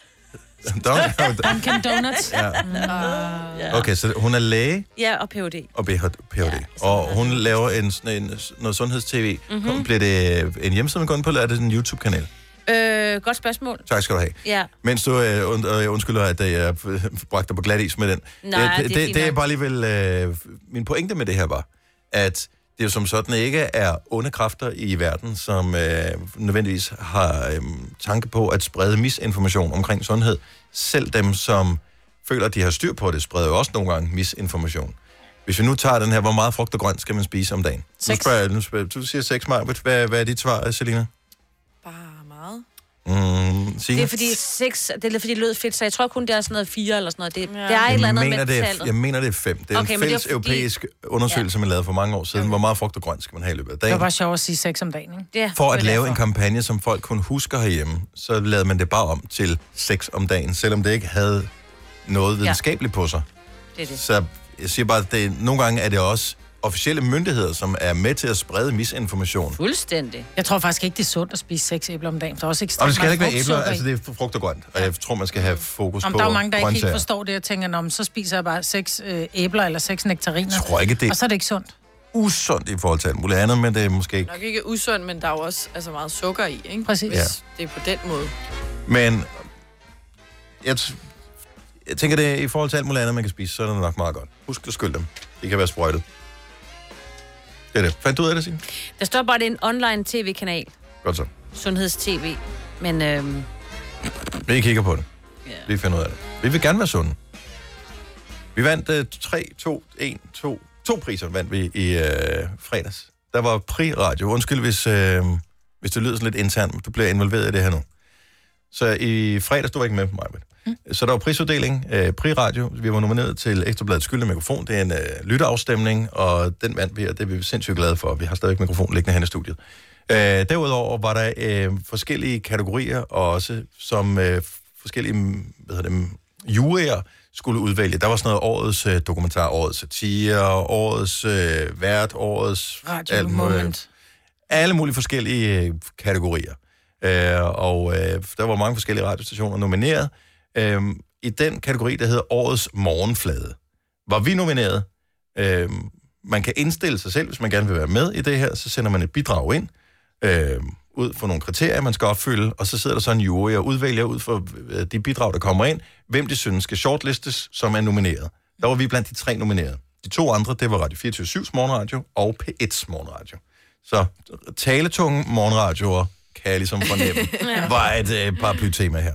Dog- Dunkin' Donuts. ja. Okay, så hun er læge Ja, og Ph.D. og BH- PhD. Ja, og hun laver en, sådan en, noget sundhedstv. Mhm. Mm-hmm. Bliver det en hjemmeside, man går ind på, eller er det sådan en YouTube-kanal? Øh, godt spørgsmål. Tak skal du have. Ja. Mens du øh, und, øh, jeg undskylder, at øh, jeg øh, bragte dig på glat is med den. Nej, Øh, det er det, fint det, det er nok. bare lige vel... Øh, min pointe med det her var, at det jo som sådan ikke er onde kræfter i verden, som øh, nødvendigvis har øh, tanke på at sprede misinformation omkring sundhed. Selv dem, som føler, at de har styr på det, spreder jo også nogle gange misinformation. Hvis vi nu tager den her, hvor meget frugt og grønt skal man spise om dagen? Nu Seks. spørger, jeg- nu spørger, jeg- du siger 6, Marvitt. Hvad, hvad er dit svar, Selina? Bare meget. Mm, Det Signe? er fordi seks, det er fordi det lød fedt, så jeg tror kun, det er sådan noget fire eller sådan noget. Det, ja. Der er et Jeg eller andet mener, med det er, tallet. jeg mener, det er fem. Det er Okay, en men det er fælles fordi- europæisk undersøgelse, man lavede for mange år siden. Hvor meget frugt og grønt skal man have i løbet af Det dagen? var bare sjovt at sige sex om dagen, ikke? Ja, For det at er lave derfor. en kampagne, som folk kun husker herhjemme, så lavede man det bare om til seks om dagen, selvom det ikke havde noget videnskabeligt på sig. Det er det. Så jeg siger bare, at det, nogle gange er det også officielle myndigheder, som er med til at sprede misinformation. Fuldstændig. Jeg tror faktisk ikke, det er sundt at spise seks æbler om dagen, for der er også ekstremt Og det skal heller ikke være æbler, meget frugtsukker i. altså det er frugt og grønt, og jeg tror, man skal have fokus Om på der er jo mange, der ikke helt grøntsager. forstår det, og tænker, "Nå, men så spiser jeg bare seks øh, æbler eller seks nektariner. Jeg tror ikke, det er- Og så er det ikke sundt. Usundt i forhold til alt muligt andet, men det er måske ikke... Nok ikke usund, men der er jo også altså, meget sukker i, ikke? Præcis. Hvis Ja. det er på den måde. Men jeg, t- jeg tænker, det er i forhold til alt muligt andet, man kan spise, så er det nok meget godt. Husk at skylde dem. Det kan være sprøjtet. Det er det. Fandt du ud af det, Signe? Der står bare, det er en online tv-kanal. Godt så. Sundheds-tv. Men øhm, Vi kigger på det. Vi finder ud af det. Vi vil gerne være sunde. Vi vandt øh, 3, 2, 1, 2. To priser vandt vi i øh, fredags. Der var Pri-radio. Undskyld, hvis, øh, hvis det lyder sådan lidt internt. Du bliver involveret i det her nu. Så i fredags, du var ikke med på mig, men. Så der var prisuddeling, øh, Pri-radio. Vi var nomineret til Ekstrabladet Skyld og Mikrofon. Det er en øh, lytteafstemning, og den vandt vi, og det er vi sindssygt glade for. Vi har stadig mikrofon liggende hen i studiet. Øh, derudover var der øh, forskellige kategorier, og også som øh, forskellige hvad hedder det, juryer skulle udvælge. Der var sådan noget årets øh, dokumentar, årets satire, årets øh, vært, årets... Radio alt muligt. Alle mulige forskellige øh, kategorier. Øh, og øh, der var mange forskellige radiostationer nomineret. Øh, I den kategori, der hedder årets morgenflade, var vi nomineret. Øh, man kan indstille sig selv, hvis man gerne vil være med i det her, så sender man et bidrag ind øh, ud for nogle kriterier, man skal opfylde, og så sidder der så en jury og udvælger ud for øh, de bidrag, der kommer ind, hvem de synes skal shortlistes, som er nomineret. Der var vi blandt de tre nominerede. De to andre, det var Radio 24-7's morgenradio og P1's morgenradio. Så taletunge morgenradioer, kan jeg ligesom fornemme, Ja. var et øh, paraplytema her.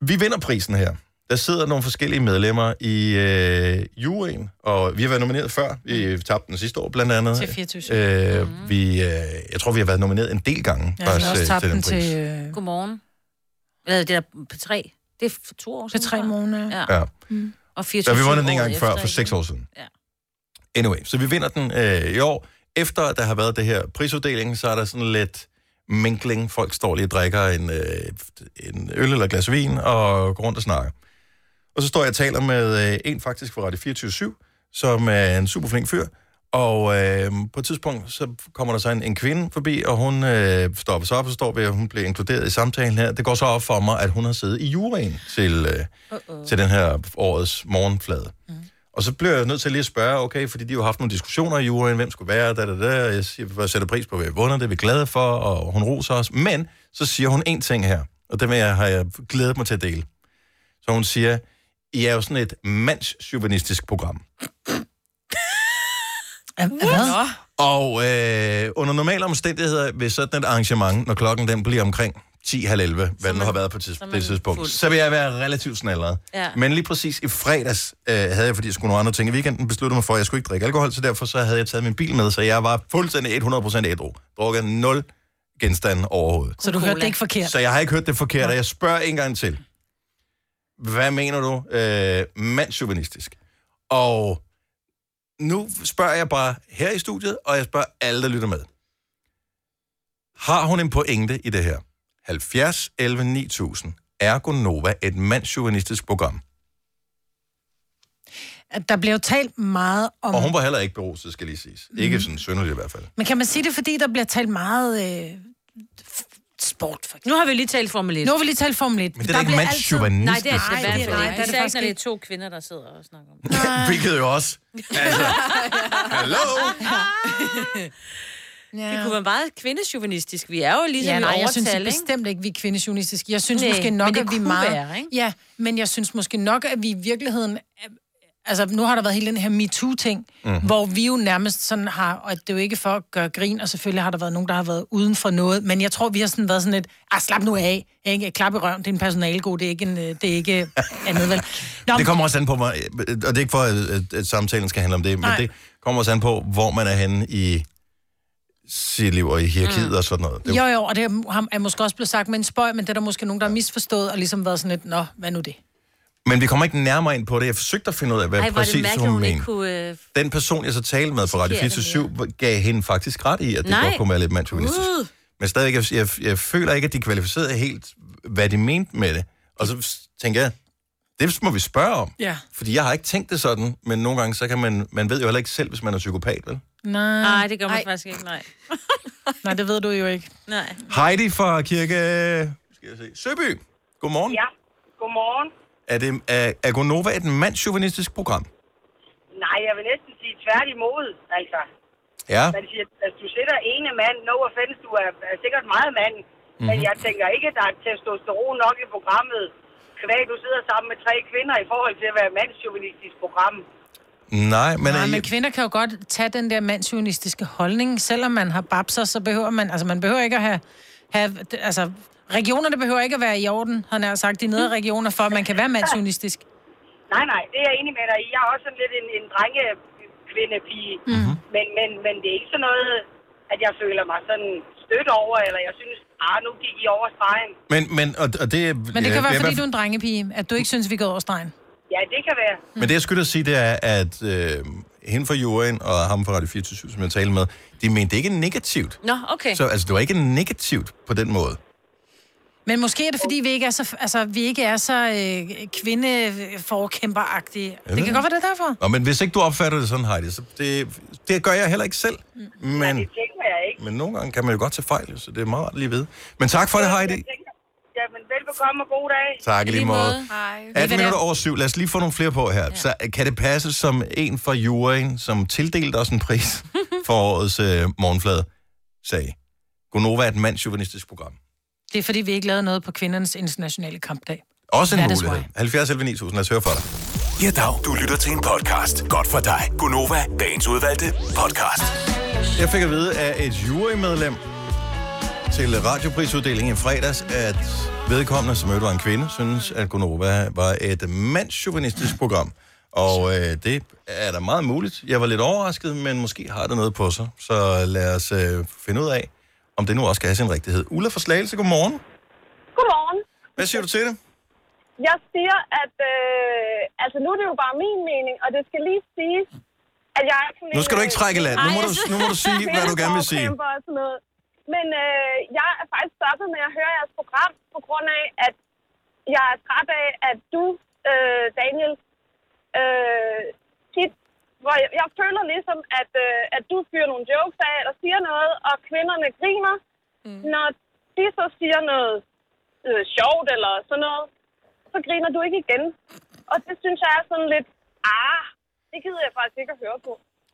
Vi vinder prisen her. Der sidder nogle forskellige medlemmer i øh, juryen, og vi har været nomineret før. Vi tabte den sidste år, blandt andet. Mm. Til 24/7. Øh, vi, øh, jeg tror, vi har været nomineret en del gange. Jeg har faktisk, også øh, tabt den pris. til... Øh... godmorgen. Hvad er det der på tre? Det er for to år siden. tre måneder. Ah. Ja. Ja. ja. Mm. Og Ja, 24 vi vundet den en år gang før, for efter, seks år siden. Ja. Anyway, så vi vinder den øh, i år. Efter at der har været det her prisuddeling, så er der sådan lidt minkling. Folk står lige og drikker en, øh, en øl eller et glas vin og går rundt og snakker. Og så står jeg og taler med øh, en faktisk fra Radio 24 som er en super flink fyr. Og øh, på et tidspunkt, så kommer der så en, en kvinde forbi, og hun øh, stopper sig op og står ved, at hun bliver inkluderet i samtalen her. Det går så op for mig, at hun har siddet i juryen til, øh, uh-uh. til den her årets morgenflade. Og så bliver jeg nødt til lige at spørge, okay, fordi de har jo haft nogle diskussioner i juryen, hvem skulle være, da, da, da. Jeg siger, jeg sætter pris på, hvad vi vunder, det er vi glade for, og hun roser os. Men så siger hun en ting her, og den vil jeg, har jeg glædet mig til at dele. Så hun siger, I er jo sådan et mandsjuvenistisk program. Hvad? Og øh, under normale omstændigheder ved sådan et arrangement, når klokken den bliver omkring 10 halv 11, hvad den nu har været på tids- det tidspunkt, fuld. så vil jeg være relativt snallere. Ja. Men lige præcis i fredags øh, havde jeg, fordi jeg skulle nogle andre ting i weekenden, besluttet mig for, at jeg skulle ikke drikke alkohol, så derfor så havde jeg taget min bil med, så jeg var fuldstændig 100% ædru. Drukket 0 genstande overhovedet. Så du hørte det ikke forkert? Så jeg har ikke hørt det forkert, og jeg spørger en gang til. Hvad mener du øh, mandsjuvenistisk? Og nu spørger jeg bare her i studiet, og jeg spørger alle, der lytter med. Har hun en pointe i det her? 70 11 9000. Ergo Nova, et mandsjuvenistisk program. At Der bliver jo talt meget om... Og Mhm. hun var heller ikke beruset, skal lige siges. Ikke sådan synderligt i hvert fald. Men kan man sige det, fordi der bliver talt meget... Øh... Sport, for Nu har vi lige talt Formel 1. Nu har vi lige talt Formel 1. Men det er da ikke mandsjuvenistisk. Nej, det er Nej, det, det er det ikke. det. Det er Især ikke, faktisk når det er ikke. to kvinder, der sidder og snakker om det. Hvilket jo også... Altså, hallo? Det kunne være meget kvindesjuvenistisk. Vi er jo ligesom ja, nej, jeg synes overtal, ikke? bestemt ikke, vi er kvindesunistiske. Jeg synes Nej, nej, måske men nok, det at vi er kunne meget... være, ikke? Ja, men jeg synes måske nok, at vi i virkeligheden... er- Altså, nu har der været hele den her MeToo-ting, Mhm. mm. hvor vi jo nærmest sådan har... Og det er jo ikke for at gøre grin, og selvfølgelig har der været nogen, der har været uden for noget, men jeg tror, vi har sådan været sådan lidt... Ah, slap nu af, ikke? Klap i røven, det er en personalegod, det er ikke, en, øh, det er ikke andet, vel? Nå, Det kommer også an på, hvor- øh, og det er ikke for, at- at, at samtalen skal handle om det, men Nej. det kommer også an på, hvor man er henne i sit liv og i hierarkiet mm. og sådan noget. Det, Jo, jo, og det er, er måske også blevet sagt med en spøj, men det er der måske nogen, der har misforstået og ligesom været sådan lidt, nå, hvad nu det? men vi kommer ikke nærmere ind på det. Jeg forsøgte at finde ud af, hvad Ej, Ej, hvor er det præcis hun mærkeligt, hun ikke mente. Kunne, øh, Den person, jeg så talte med fra Radio Forkert, 427, gav hende faktisk ret i, at det Nej. godt kunne være lidt mandsjuvenistisk. Uh. Men stadigvæk, jeg, jeg, jeg føler ikke, at de kvalificerede helt, hvad de mente med det. Og så tænker jeg, Det må vi spørge om. Ja. Fordi jeg har ikke tænkt det sådan, men nogle gange, så kan man... Man ved jo heller ikke selv, hvis man er psykopat, vel? Nej. Nej, det gør man faktisk ikke, nej. nej, det ved du jo ikke. Nej. Heidi fra Kirke... Skal jeg se. Søby, godmorgen. Ja, godmorgen. Er, det, er, er Gonova et mandsjuvenistisk program? Nej, jeg vil næsten sige tværtimod, altså. Ja. Man siger, at du sidder ene mand, no offense, du er, er sikkert meget mand, mm-hmm. men Mhm. jeg tænker ikke, at der er testosteron nok i programmet, kvæg du sidder sammen med tre kvinder i forhold til at være et mandsjuvenistisk program. Nej, men... Nej, er I- men kvinder kan jo godt tage den der mandsunistiske holdning. Selvom man har babser, så behøver man... Altså, man behøver ikke at have... have altså, regionerne behøver ikke at være i orden, har jeg nær sagt, de nedre regioner, for at man kan være mandsunistisk. Nej, nej, det er jeg enig med dig i. Jeg er også sådan lidt en, en drenge-kvinde-pige, Mhm. mm-hmm. men, men, men det er ikke sådan noget, at jeg føler mig sådan stødt over, eller jeg synes, ah, nu gik I over stregen. Men, men, og, og det, Men det ja, kan være, jeg- fordi du er en drengepige, at du ikke synes, vi går over stregen. Ja, det kan være. Men det, jeg skulle da sige, det er, at øh, hende fra Juryen og ham fra Radio 24 som jeg talte med, de mente det ikke negativt. Nå, okay. Så altså, det var ikke negativt på den måde. Men måske er det, fordi vi ikke er så, altså, vi ikke er så øh, kvindeforkæmperagtige. ved Det kan det. godt være, det er derfor. Nå, men hvis ikke du opfatter det sådan, Heidi, så det, det gør jeg heller ikke selv. Mm. Men, Tænker jeg ikke. men nogle gange kan man jo godt tage fejl, jo, så det er meget rart lige ved. Men tak for det, Heidi. Ja, men velbekomme og god dag. Tak, i lige måde. Hej. 18 minutter over syv. Lad os lige få nogle flere på her. Ja. Så øh, kan det passe som en fra juryen, som tildelte os en pris for årets øh, morgenflade, sagde, Gonova er et mandsjuvenistisk program. Det er, fordi vi ikke lavede noget på kvindernes internationale kampdag. Også en That is mulighed. 70 11 9000. Lad os høre fra dig. Ja, dag. Du lytter til en podcast. Godt for dig. Gunova, dagens udvalgte podcast. Jeg fik at vide af et jurymedlem til radioprisuddelingen i fredags, at vedkommende, som i øvrigt var en kvinde, synes, at Gonova var et mandsjuvenistisk program. Og øh, det er da meget muligt. Jeg var lidt overrasket, men måske har det noget på sig. Så lad os øh, finde ud af, om det nu også skal have sin rigtighed. Ulla fra Slagelse, godmorgen. Godmorgen. Hvad siger du til det? Jeg siger, at... Øh, altså, nu er det jo bare min mening, og det skal lige siges, at jeg er sådan Nu en, skal du ikke øh, trække i land. Nu må nej, du- jeg- nu må du sige, hvad du gerne vil sige. kvindeforkæmper Og sådan noget. Men øh, jeg er faktisk stoppet med at høre jeres program, på grund af, at jeg er træt af, at du, øh, Daniel, øh, tit, hvor jeg, jeg føler ligesom, at, øh, at du fyrer nogle jokes af, eller siger noget, og kvinderne griner, mm. når de så siger noget øh, sjovt eller sådan noget, så griner du ikke igen. Og det synes jeg er sådan lidt, ah, det gider jeg faktisk ikke at høre på.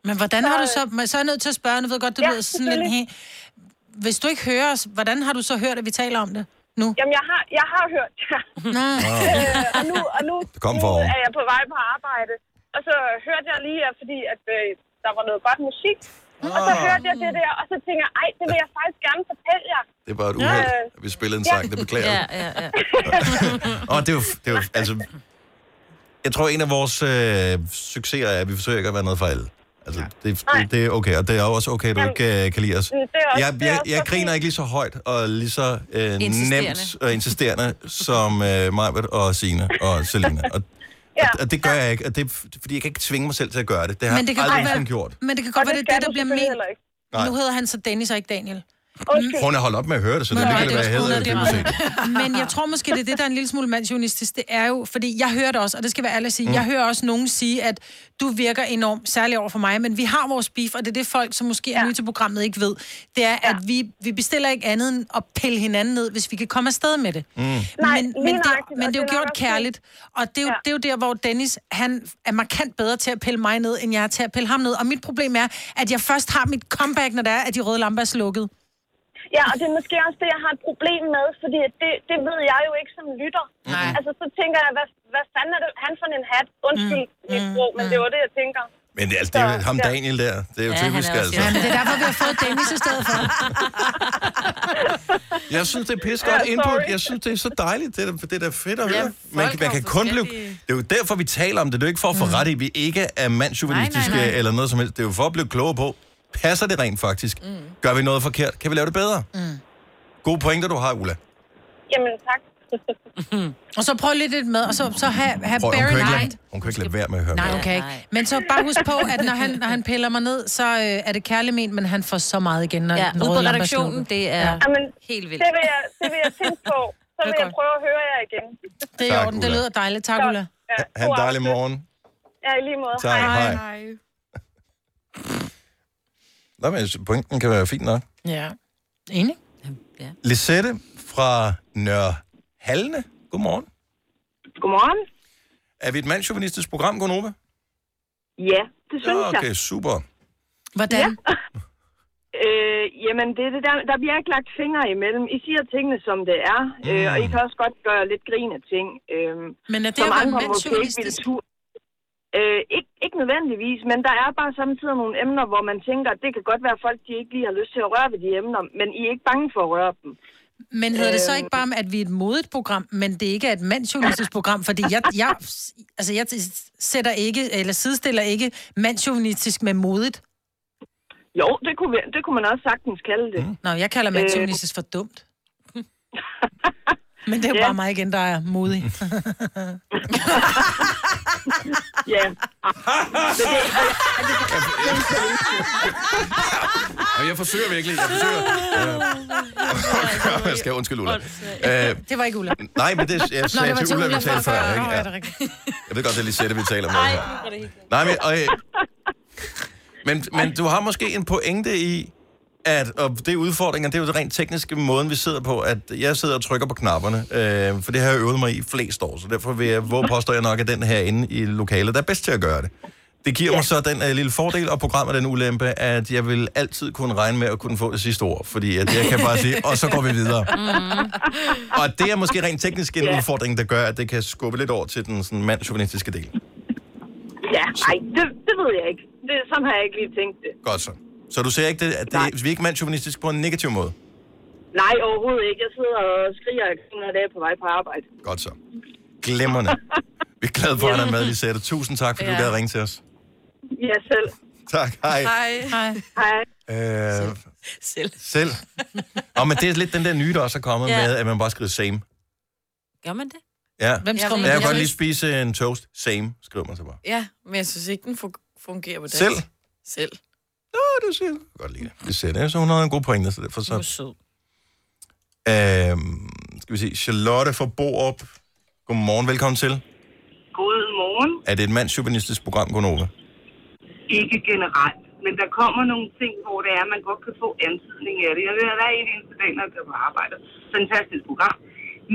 Men hvordan har du så... men Så er jeg nødt til at spørge, nu ved jeg godt, det Ja, lyder sådan lidt... selvfølgelig. he- Hvis du ikke hører os, hvordan har du så hørt, at vi taler om det nu? Jamen, jeg har, jeg har hørt jer. Ah, øh, og nu, og nu, Det kom nu foroven. er jeg på vej på arbejde. Og så hørte jeg lige, at fordi at, øh, der var noget godt musik. Og så Ah. hørte jeg det der, og så tænker jeg, ej, det vil jeg faktisk gerne fortælle jer. Det var et uheld, at vi spillede en sang. Det beklager jeg. ja, ja. Og det er jo, det er jo altså... Jeg tror, en af vores øh, succeser er, at vi forsøger ikke at være noget for alle. Altså, det, det, det er okay, og det er jo også okay, at du Jamen, ikke øh, kan lide os. det er også- jeg, det er jeg, også jeg okay. griner ikke lige så højt og lige så øh, Insisterende. nemt og insisterende som øh, Majbert og Sine og Selina. Og, ja. og det gør jeg ikke, og det er f- fordi jeg kan ikke tvinge mig selv til at gøre det. Det har Men det jeg kan aldrig godt være- nogensinde gjort. Men det kan godt Og være, det det er det, skal der du bliver selvfølgelig ment. Nej. Nu hedder han så Dennis og ikke Daniel. Undskyld. Prøv at holde op med at høre det, så det Nå, ligger det, er hvad jeg sgu hedder. noget, Det, det du er meget. Men jeg tror måske, det er det, der er en lille smule mandsjunistisk. Det er jo, fordi jeg hører det også, og det skal være ærlig at sige. Mm. Mm. Jeg hører også nogen sige, at du virker enormt særlig over for mig, men vi har vores beef, og det er det folk, som måske er nye til programmet, ikke ved. Det er, at vi, vi bestiller ikke andet end at pille hinanden ned, hvis vi kan komme afsted med det. Mm. Nej, men, lige men, det, nøjagtigt, men det er og jo det er nok gjort også kærligt. Og det er, jo, det er jo der, hvor Dennis han er markant bedre til at pille mig ned, end jeg er til at pille ham ned. Og mit problem er, at jeg først har mit comeback, når der er, at de røde lamper er slukket. Ja, og det er måske også det, jeg har et problem med, fordi at det, det ved jeg jo ikke som lytter. Nej. Altså, så tænker jeg, hvad, hvad fanden er det, han for en hat? Undskyld mm. mit sprog, men det var det, jeg tænker. Men det, er- altså, det er jo ham Daniel der. Det er jo ja, Ja, han er typisk, også- altså. Ja, Men det er derfor, vi har fået Dennis i stedet for. Jeg synes, det er pis godt Ja, yeah, input. sorry. Jeg synes, det er så dejligt. Det er, da- det er da fedt at Ja, høre. folk man, har man jo kan kun blive... Det forskellige- er jo derfor, vi taler om det. Det er jo ikke for at få ret i, at vi ikke er mandsjuvenistiske Nej, nej, nej. eller noget som helst. Det er jo for at blive klogere på, passer det rent faktisk? Mm. Gør vi noget forkert? Kan vi lave det bedre? Mm. Gode pointer, du har, Ulla. Jamen, tak. Og så prøv lidt lidt med, og så, så have, have Prøv, hun, bear kan in ikke mind. lade, hun kan ikke lade være med at høre Nej, mere. okay. Men så bare husk på, at når han, når han piller mig ned, så øh, er det kærlig ment, men han får så meget igen, når Ja, den ude røde på lampe er redaktionen, slukket. det er Ja. Jamen, helt vildt. Det vil jeg, det vil jeg tænke på. Så Det er vil jeg prøve at høre jer igen. Det er i orden, det lyder dejligt. Tak, Ulla. Ja, Ha' en god dejlig aften. morgen. Ja, i lige måde. Tak, hej. Nå, men pointen kan være fin nok. Ja. Enig? Lisette fra Nørre Hallene. Godmorgen. Godmorgen. Er vi et mandsjuvenistisk program, Gunova? Ja, det synes Ja, Ah, okay, jeg. super. Hvordan? Ja. øh, jamen, det er det der, der bliver ikke lagt fingre imellem. I siger tingene, som det er, øh, Mm. og I kan også godt gøre lidt grin af ting. Øh, Men er det som at være andre måske mandsjuvenistisk? ikke ville turde. Øh, ikke, ikke nødvendigvis, men der er bare samtidig nogle emner, hvor man tænker, at det kan godt være folk, de ikke lige har lyst til at røre ved de emner, men I er ikke bange for at røre dem. Men hedder det så Øhm. ikke bare, at vi er et modigt program, men det ikke er et mandsjournalistisk program? Fordi jeg, jeg, altså jeg sætter ikke, eller sidestiller ikke mandsjournalistisk med modigt. Jo, det kunne, vi- det kunne man også sagtens kalde det. Mm. Nå, jeg kalder mandsjournalistisk for dumt. Men det er jo Ja. bare mig igen, der er modig. Ja. Og jeg forsøger virkelig, jeg forsøger. Øh, jeg skal undskylde, Ulla. Øh, Det var ikke Ulla. nej, men det, jeg sagde til Ulla, vi talte før. Ikke? Ja. Ja. Jeg ved godt, det er Lisette, vi taler med. her. var det Nej, men, og, øh, men, men du har måske en pointe i, at og det er udfordringen, det er jo rent teknisk måden, vi sidder på, at jeg sidder og trykker på knapperne, øh, for det har jeg øvet mig i flest år, så derfor vil jeg, hvor påstår jeg nok, at den herinde i lokalet, der er bedst til at gøre det. Det giver mig så den øh, lille fordel og programmet den ulempe, at jeg vil altid kunne regne med at kunne få det sidste ord, fordi at jeg kan bare sige, og så går vi videre. Og det er måske rent teknisk en udfordring, der gør, at det kan skubbe lidt over til den sådan, mandsjuvenistiske del. Ja, ej, det, det ved jeg ikke. Det, sådan har jeg ikke lige tænkt det. Godt så. Så du ser ikke, det, at det, vi er ikke mandsjuvenistiske på en negativ måde? Nej, overhovedet ikke. Jeg sidder og skriger hver dag på vej på arbejde. Godt så. Glemmerne. Vi er glade for, at han er med, Lisette. Tusind tak, fordi Ja. du gad ringe til os. Ja, selv. Tak, hej. Hej. Hej. Øh, Selv. selv. Og men det er lidt den der nye, der også er kommet Ja. ja. med, at man bare skriver same. Gør man det? Ja. Hvem skriver man Jeg det? kan godt lige spise en toast. Same, skriver man så bare. Ja, men jeg synes ikke, den fu- fungerer på dansk. Selv? Selv. Nå, det siger jeg godt lide. Lisette, så hun har en god pointe, så derfor så... Hun er sød. Øhm, skal vi se, Charlotte fra Boop. Godmorgen, velkommen til. Godmorgen. Er det et mandsjuvenistisk program, Gunova? Ikke generelt, men der kommer nogle ting, hvor det er, man godt kan få antydning af det. Jeg ved, at der er en eneste dag, når jeg går på arbejde. Fantastisk program.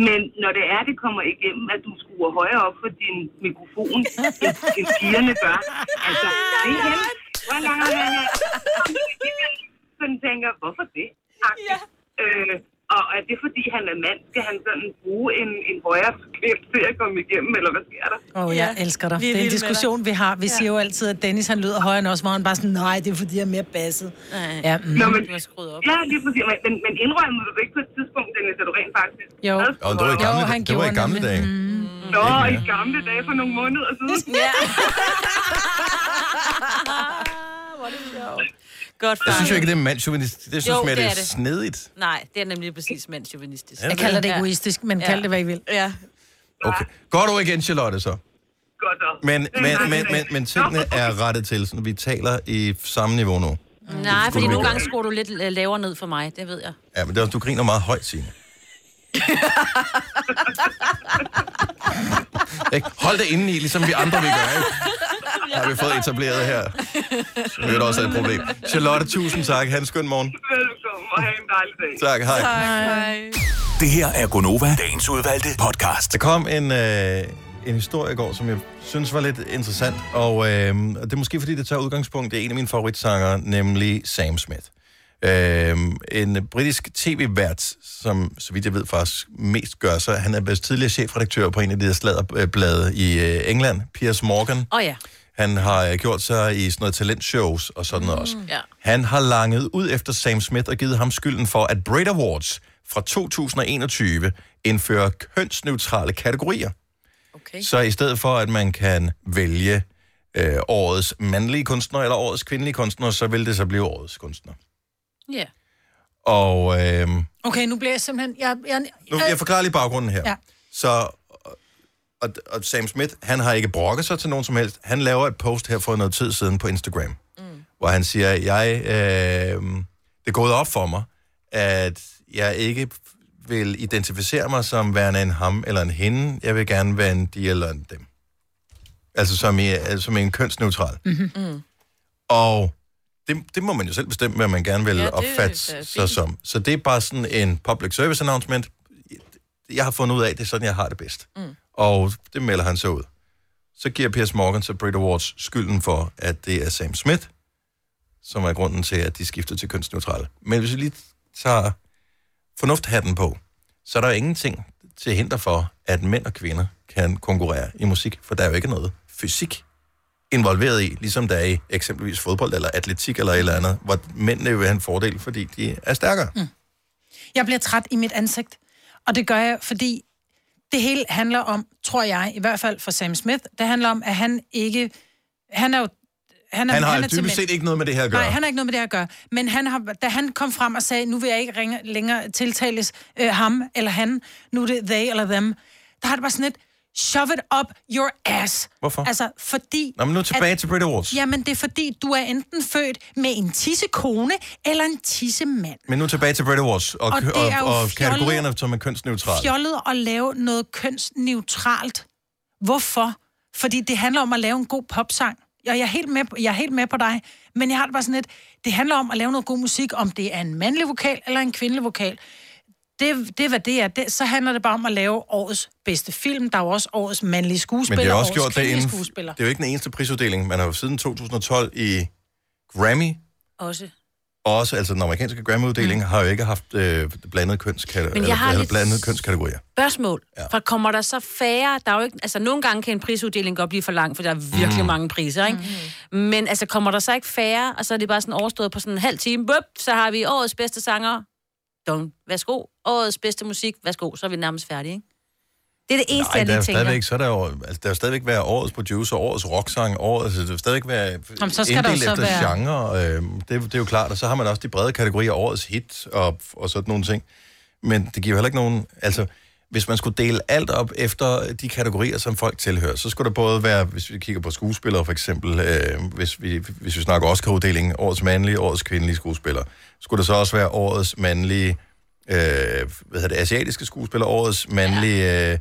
Men når det er, det kommer igennem, at du skruer højere op for din mikrofon, end, end pigerne gør. Altså, det er helt... Hvor lang er det her? Sådan tænker, hvorfor det? Ja. Øh, og er det, fordi han er mand? Skal han sådan bruge en, en højere frekvens til at komme igennem, eller hvad sker der? Åh, oh, jeg elsker dig. Vi er Det er en vilde med diskussion, vi har. Vi siger jo altid, at Dennis han lyder højere end os, hvor han bare sådan, nej, det er fordi, jeg er mere basset. Ja, mm. Nå, men, ja, lige præcis. Men, men, men indrømmer du ikke på et tidspunkt, Dennis, at du rent faktisk... Jo, Jo. det var i gamle, dage. det var i gamle dage. Nå, i gamle dage for nogle måneder siden. Ja. Hvor er det sjovt. Godt Jeg synes jo fanget. ikke, det er mandsjuvenistisk. Det synes Jo, jo, jeg, det det er, er det. snedigt. Nej, det er nemlig præcis mandsjuvenistisk. Ja, Jeg det er kalder det. det egoistisk, men kald det, hvad I vil. Ja. Okay. Godt over igen, Charlotte, så. Godt op. Men, men, men, men, men tingene er rettet til, så vi taler i samme niveau nu. Nej, fordi vi nogle gøre. gange skruer du lidt øh, lavere ned for mig, det ved jeg. Ja, men det er, også- du griner meget højt, Signe. Ikke? Hold det inde i, ligesom vi andre vil gøre. Ikke? Har vi fået etableret her. Det er jo også et problem. Charlotte, tusind tak. Ha' en skøn morgen. Velkommen, og have en dejlig dag. Tak, hej. Det her er Gonova, dagens udvalgte podcast. Der kom en, øh, en historie i går, som jeg synes var lidt interessant, og, øh, og det er måske fordi, det tager udgangspunkt i en af mine favoritsanger, nemlig Sam Smith. Øh, en britisk tv-vært, som så vidt jeg ved faktisk mest gør sig. Han er vist tidligere chefredaktør på en af de der sladderblade i øh, England, Piers Morgan. Åh oh, ja. Han har øh, gjort sig i sådan noget talentshows og sådan noget også. Mm. Ja. Han har langet ud efter Sam Smith og givet ham skylden for, at Brit Awards fra 2021 indfører kønsneutrale kategorier. Okay. Så i stedet for, at man kan vælge øh, årets mandlige kunstner eller årets kvindelige kunstner, så vil det så blive årets kunstner. Ja. Og øh, Okay, nu bliver jeg simpelthen... Jeg, jeg, nu, jeg forklarer lige baggrunden her. Ja. Så og, og Sam Smith, han har ikke brokket sig til nogen som helst. Han laver et post her for noget tid siden på Instagram, mm. hvor han siger, jeg, øh, det er gået op for mig, at jeg ikke vil identificere mig som værende en ham eller en hende. Jeg vil gerne være en de eller en dem. Altså som, i, altså, som i en kønsneutral. Mm-hmm. Mm. Og det, det må man jo selv bestemme, hvad man gerne vil ja, opfatte sig som. Så det er bare sådan en public service announcement. Jeg har fundet ud af, at det er sådan, jeg har det bedst. Mm. Og det melder han så ud. Så giver Piers Morgan så Brit Awards skylden for, at det er Sam Smith, som er grunden til, at de skifter til kønsneutrale. Men hvis vi lige tager fornufthatten på, så er der jo ingenting til hinder for, at mænd og kvinder kan konkurrere i musik, for der er jo ikke noget fysik involveret i, ligesom der er i eksempelvis fodbold eller atletik eller et eller andet, hvor mændene jo vil have en fordel, fordi de er stærkere. Mm. Jeg bliver træt i mit ansigt, og det gør jeg, fordi det hele handler om, tror jeg, i hvert fald for Sam Smith, det handler om, at han ikke... Han er jo Han, er, han har er han til dybest mænd. set ikke noget med det her at gøre. Nej, han har ikke noget med det at gøre. Men han har, da han kom frem og sagde, nu vil jeg ikke ringe, længere tiltales øh, ham eller han, nu er det they eller them, der har det bare sådan et, shove it up your ass. Hvorfor? Altså, fordi... Nå, men nu tilbage til Brit Awards. Jamen, det er fordi, du er enten født med en tissekone eller en tissemand. Men nu tilbage til Brit Awards og, Og og, det er og, jo og fjollet- kategorierne, som er kønsneutrale. Fjollet at lave noget kønsneutralt. Hvorfor? Fordi det handler om at lave en god popsang. Og jeg er helt med, på- jeg er helt med på dig, men jeg har det bare sådan lidt, det handler om at lave noget god musik, om det er en mandlig vokal eller en kvindelig vokal. Det, det er, hvad det er. Det, så handler det bare om at lave årets bedste film. Der er jo også årets mandlige Men skuespiller, det er også årets gjort det kvindelige inden... Det skuespiller. er jo ikke den eneste prisuddeling. Man har jo siden 2012 i Grammy, Også. også altså den amerikanske Grammy-uddeling, mm. har jo ikke haft øh, blandet, kønskate- Men jeg eller, har eller lidt- blandet kønskategorier. Spørgsmål. Ja. For kommer der så færre? Der er jo ikke, altså, nogle gange kan en prisuddeling godt blive for lang, for der er virkelig Mhm. mm. mange priser, ikke? Mm-hmm. Mm. Men altså, kommer der så ikke færre, og så er det bare sådan overstået på sådan en halv time, bup, så har vi årets bedste sanger. Don, værsgo. Årets bedste musik, værsgo. Så er vi nærmest færdige, ikke? Det er det eneste, Nej, jeg der er lige jo tænker. stadigvæk, så er der, jo, altså, der er jo stadigvæk være årets producer, årets rocksang, årets, altså, der vil stadigvæk være Jamen, så skal der jo inddelt så efter være- genre. Øh, det, det, er jo klart, og så har man også de brede kategorier, årets hit og, og sådan nogle ting. Men det giver jo heller ikke nogen... Altså, hvis man skulle dele alt op efter de kategorier, som folk tilhører, så skulle der både være, hvis vi kigger på skuespillere for eksempel, øh, hvis, vi, hvis vi snakker Oscar-uddelingen, årets mandlige, årets kvindelige skuespiller, skulle der så også være årets mandlige, øh, hvad hedder det, asiatiske skuespiller, årets mandlige, ja. øh,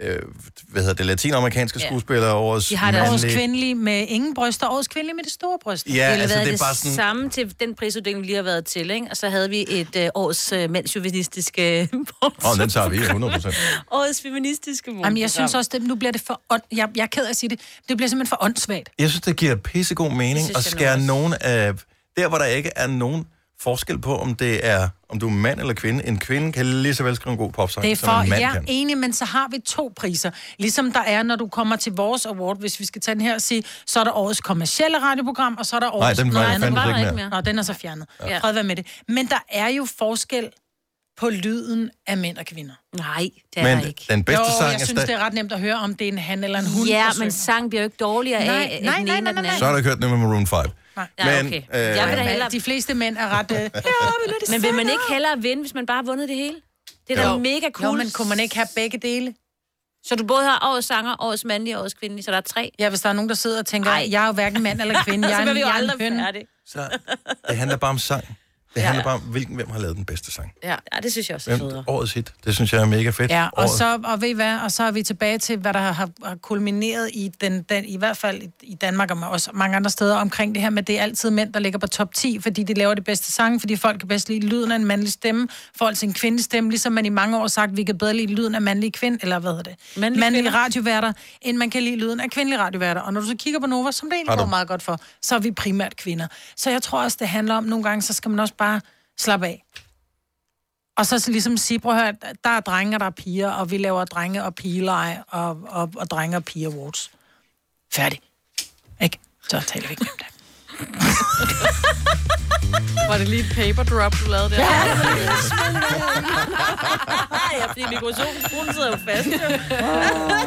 øh, hvad hedder det, latinamerikanske Ja. skuespiller, årets De har det årets mandlige- kvindelige med ingen bryster, årets kvindelige med det store bryst. Ja, det altså, været det er det bare sådan- samme til den prisuddeling, vi lige har været til, ikke? Og så havde vi et øh, års øh, mandsjuvenistiske... Åh, oh, den tager vi 100%. årets feministiske Jamen, jeg synes også, det, nu bliver det for ånd... Jeg, jeg er ked af at sige det. Det bliver simpelthen for åndssvagt. Jeg synes, det giver pissegod mening at synes jeg nu skære også. nogen af... Der, hvor der ikke er nogen forskel på, om det er om du er mand eller kvinde. En kvinde kan lige så vel skrive en god popsang, Det er som en for, mand ja, kan. enig, men så har vi to priser. Ligesom der er, når du kommer til vores award, hvis vi skal tage den her og sige, så er der årets kommercielle radioprogram, og så er der årets... den var jo fandme ikke mere. Nå, den er så fjernet. Ja. Ja. Fred være med det. Men der er jo forskel på lyden af mænd og kvinder. Nej, det er Men der ikke. den bedste jo, sang jeg er synes, stadig- det er ret nemt at høre, om det er en han eller en hund. Ja, der synger. men sang bliver jo ikke dårligere nej, af, at den nej, ene nej, og nej, den nej, anden. Så har du ikke hørt noget med Maroon 5. Nej. Men, okay. øh, Jeg vil da hellere... De fleste mænd er ret... Øh, Men vil man ikke hellere vinde, hvis man bare har vundet det hele? Det er Jo. da mega cool. Jo, men kunne man ikke have begge dele? Så du både har årets sanger, årets mandlige og årets kvindelige, så der er tre? Ja, hvis der er nogen, der sidder og tænker, Ej. jeg er jo hverken mand eller kvinde, jeg så er bliver en, vi jo jeg er en aldrig høn. færdige. Så det handler bare om sang. Det Ja. handler bare om, hvilken, hvem har lavet den bedste sang. Ja, ja det synes jeg også er Hvem, federe. årets hit. Det synes jeg er mega fedt. Ja, og Årets- så, og ved I hvad, og så er vi tilbage til, hvad der har, har, har kulmineret i, den, den, i hvert fald i, i Danmark og også mange andre steder omkring det her med, det er altid mænd, der ligger på top 10, fordi de laver det bedste sang, fordi folk kan bedst lide lyden af en mandlig stemme, forhold til en kvindelig stemme, ligesom man i mange år har sagt, vi kan bedre lide lyden af mandlige kvinde, eller hvad hedder det? Mandlige, mandlige radioværter, end man kan lide lyden af kvindelige radioværter. Og når du så kigger på Nova, som det Har egentlig du- går meget godt for, så er vi primært kvinder. Så jeg tror også, det handler om, nogle gange, så skal man også bare slappe af. Og så ligesom sige, prøv at høre, der er drenge, og der er piger, og vi laver drenge og pigeleje, og, og, og drenge og piger awards. Færdig. Ikke? Så taler vi ikke om det. Var det lige et paper drop, du lavede der? Ja, det var Nej, fordi mikrofonen sidder jo fast.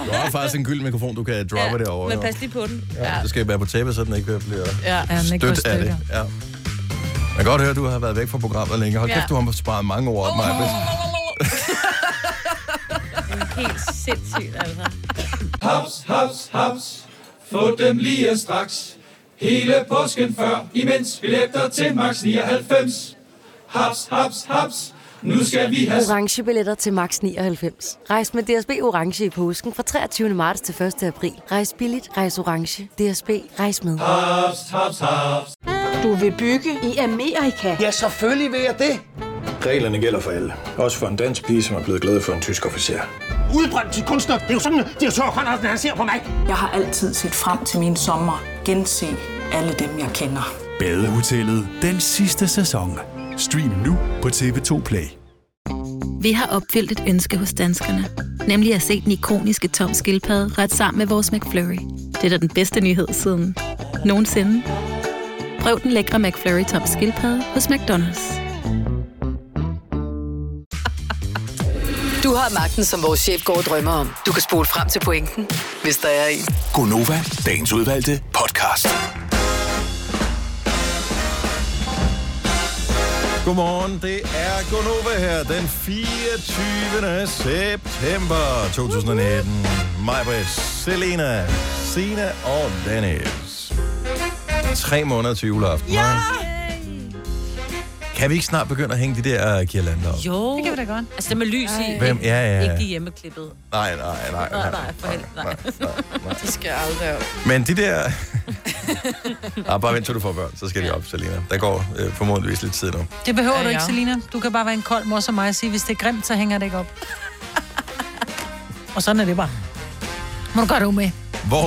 Du har faktisk en gyld mikrofon, du kan droppe ja, derovre. Men jo. pas lige på den. Ja. Det skal være på tape, så den ikke bliver Ja, ja, den ikke går i stødt af det. Ja. Jeg kan godt høre, at du har været væk fra programmet længe. Hold Ja. kæft, du har sparet mange år op, Maja. Helt sindssygt, altså. Haps, haps, haps. Få dem lige straks. Hele påsken før, imens billetter til max 99. Haps, haps, haps. Nu skal vi have... orange billetter til max 99. Rejs med DSB orange i påsken fra 23. marts til 1. april. Rejs billigt, rejs orange. DSB rejs med. Haps, haps, haps. Du vil bygge i Amerika? Ja, selvfølgelig vil jeg det. Reglerne gælder for alle. Også for en dansk pige, som er blevet glad for en tysk officer. Udbrøndt til kunstner. Det er jo sådan, at de har Andersen, han ser på mig. Jeg har altid set frem til min sommer, gense alle dem, jeg kender. Badehotellet den sidste sæson. Stream nu på TV2 Play. Vi har opfyldt et ønske hos danskerne. Nemlig at se den ikoniske tom skildpadde ret sammen med vores McFlurry. Det er da den bedste nyhed siden nogensinde. Prøv den lækre McFlurry tom skildpadde hos McDonald's. Du har magten, som vores chef går og drømmer om. Du kan spole frem til pointen, hvis der er en. Gonova, dagens udvalgte podcast. Godmorgen, det er Gunova her, den 24. september 2019. Majbrit, Selena, Sina og Dennis. Tre måneder til juleaften. Ja! Kan vi ikke snart begynde at hænge de der øh, girlander op? Jo. Det kan vi da godt. Altså, det med lys i. Hvem? Ikke- Ja, ja. Ikke de hjemmeklippede. Nej, nej, nej. Nej, nej. nej, for helvede. Nej. Det skal jeg aldrig op. Men de der... ah, bare vent til du får børn, så skal de op, Selena. Der går øh, formodentligvis lidt tid nu. Det behøver ja, Ja, du ikke, ja. Selina. Du kan bare være en kold mor som mig og sige, hvis det er grimt, så hænger det ikke op. og sådan er det bare. Må du gøre det med. Hvor,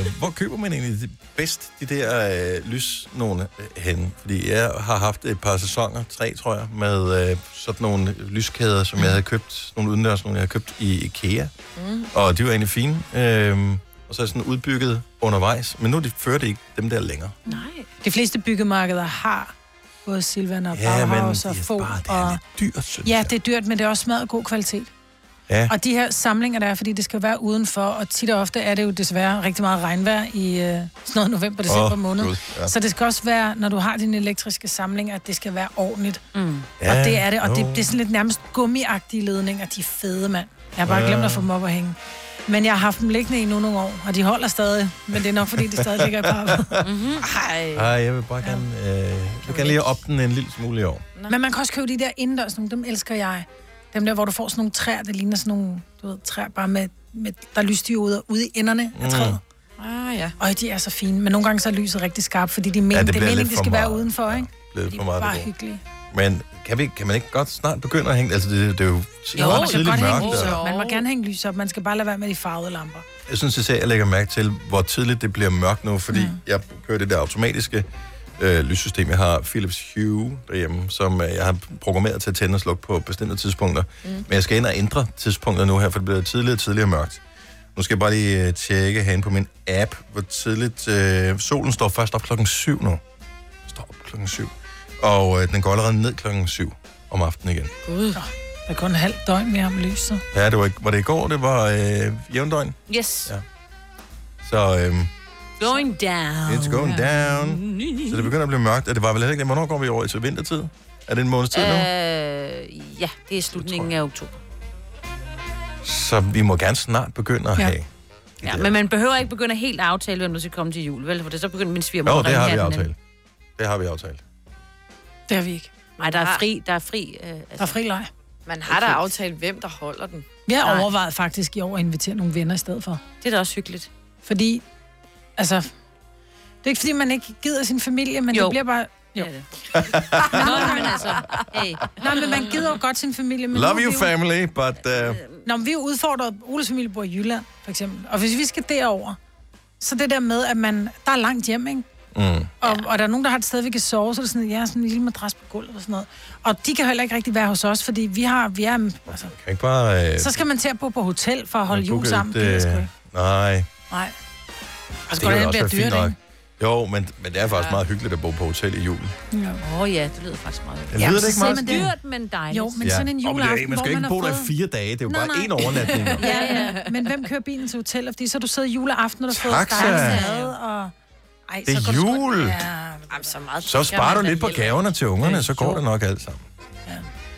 øh, hvor køber man egentlig de- bedst de der øh, lys nogle henne? Fordi jeg har haft et par sæsoner, tre tror jeg, med øh, sådan nogle lyskæder, som jeg havde købt, nogle udendørs, nogle jeg havde købt i IKEA. Mm. Og de var egentlig fine. Øh, og så er jeg sådan udbygget undervejs. Men nu de fører det ikke dem der længere. De fleste byggemarkeder har både Silvan og Ja, men Bauhaus og det er Fogh. bare- det og... Dyrt, synes Ja, det er dyrt, men det er også meget god kvalitet. Ja. Og de her samlinger, der er, fordi det skal jo være udenfor, og tit og ofte er det jo desværre rigtig meget regnvejr i øh, sådan noget november, december Åh, oh, måned. Gud, ja. ja. Så det skal også være, når du har dine elektriske samlinger, at det skal være ordentligt. Mm. Ja, og det er det, og det, jo. det er sådan lidt nærmest gummiagtige ledninger, de er fede, mand. Jeg har bare Ja. glemt at få dem op at hænge. Men jeg har haft dem liggende i nu nogle år, og de holder stadig. Men det er nok, fordi de stadig ligger i parvet. mm-hmm. Ej, jeg vil bare gerne, øh, jeg vil gerne lige op den en lille smule i år. Men man kan også købe de der indendørs, nogle, dem elsker jeg. Dem der, hvor du får sådan nogle træer, der ligner sådan nogle du ved, træer, bare med, med der er lysdioder ude i enderne Mm. af træet. Ah, ja. Og de er så fine, men nogle gange så er lyset rigtig skarpt, fordi de mener, det ja, det, det, bliver er meningen, lidt det for skal være meget. udenfor, ikke? Blevet for Det er meget bare det gode. hyggeligt. Men kan, vi, kan man ikke godt snart begynde at hænge? Altså, det, det er jo Jo, ret man kan godt tidligt hænge mørkt. lys og- op. Man må gerne hænge lys op. Man skal bare lade være med de farvede lamper. Jeg synes især, jeg lægger mærke til, hvor tidligt det bliver mørkt nu, fordi mm. jeg kører det der automatiske øh, lyssystem. Jeg har Philips Hue derhjemme, som øh, jeg har programmeret til at tænde og slukke på bestemte tidspunkter. Mm. Men jeg skal ind og ændre tidspunkter nu her, for det bliver tidligere og tidligere mørkt. Nu skal jeg bare lige øh, tjekke herinde på min app, hvor tidligt... Øh, solen står først op klokken 7 nu. Står op klokken 7. Og øh, den går allerede ned klokken 7 om aftenen igen. Gud. Der er kun en halv døgn mere om lyset. Ja, det var, ikke, var det i går, det var øh, jævndøgn. Yes. Ja. Så... Øh, Going down. Oh, It's going down. Så det begynder at blive mørkt, og det var vel heller ikke det. Hvornår går vi over til vintertid? Er det en måneds tid nu? Øh, ja, det er slutningen af oktober. Så vi må gerne snart begynde at Ja. have. Ja, men man behøver ikke begynde at helt aftale, hvem der skal komme til jul, vel? For det er så begynder min svigermor Jo, at det ringe har her vi den anden. aftalt. Det har vi aftalt. Det har vi ikke. Nej, der Ah. er fri, der er fri. Øh, altså. Der er fri leg. Man har da aftalt, hvem der holder den. Vi har overvejet faktisk i år at invitere nogle venner i stedet for. Det er da også hyggeligt. Fordi, altså... Det er ikke, fordi man ikke gider sin familie, men jo. det bliver bare... Jo. Ja, det. Nå, men altså, hey. Nej, men man gider jo godt sin familie. Men nu Love er you vi jo- Øh, family, but... Uh, Nå, men vi er jo udfordret. Oles familie bor i Jylland, for eksempel. Og hvis vi skal derover, så det der med, at man, der er langt hjem, ikke? mm. Og, ja. og der er nogen, der har et sted, vi kan sove, så er det sådan, ja, sådan en lille madras på gulvet og sådan noget. Og de kan heller ikke rigtig være hos os, fordi vi har, vi er, altså, Kan ikke bare... øh, så skal man til at bo på hotel for at holde jul booke sammen. et, Det, er sgu øh, ikke. Nej, Nej. Og så det går kan jo det hen også bliver være fint dyrt, nok. ikke? Jo, men, men det er faktisk meget hyggeligt at bo på hotel i julen. Åh oh, ja, det lyder faktisk meget Det lyder det ikke meget Det er dyrt, men dejligt. Jo, men sådan en Åh, men det er- juleaften, Man skal jo hvor ikke man bo har der i fået- fire dage. Det er jo Nej, bare nej. én overnatning. jo. ja, ja. Men hvem kører bilen til hotellet? Fordi så har du sidder juleaften, og du har fået Taxa. steget mad, og... Ej, Det er kan du sgu- jul. Ja, jamen, så meget. Så sparer du lidt på gaverne til ungerne, så går det nok alt sammen.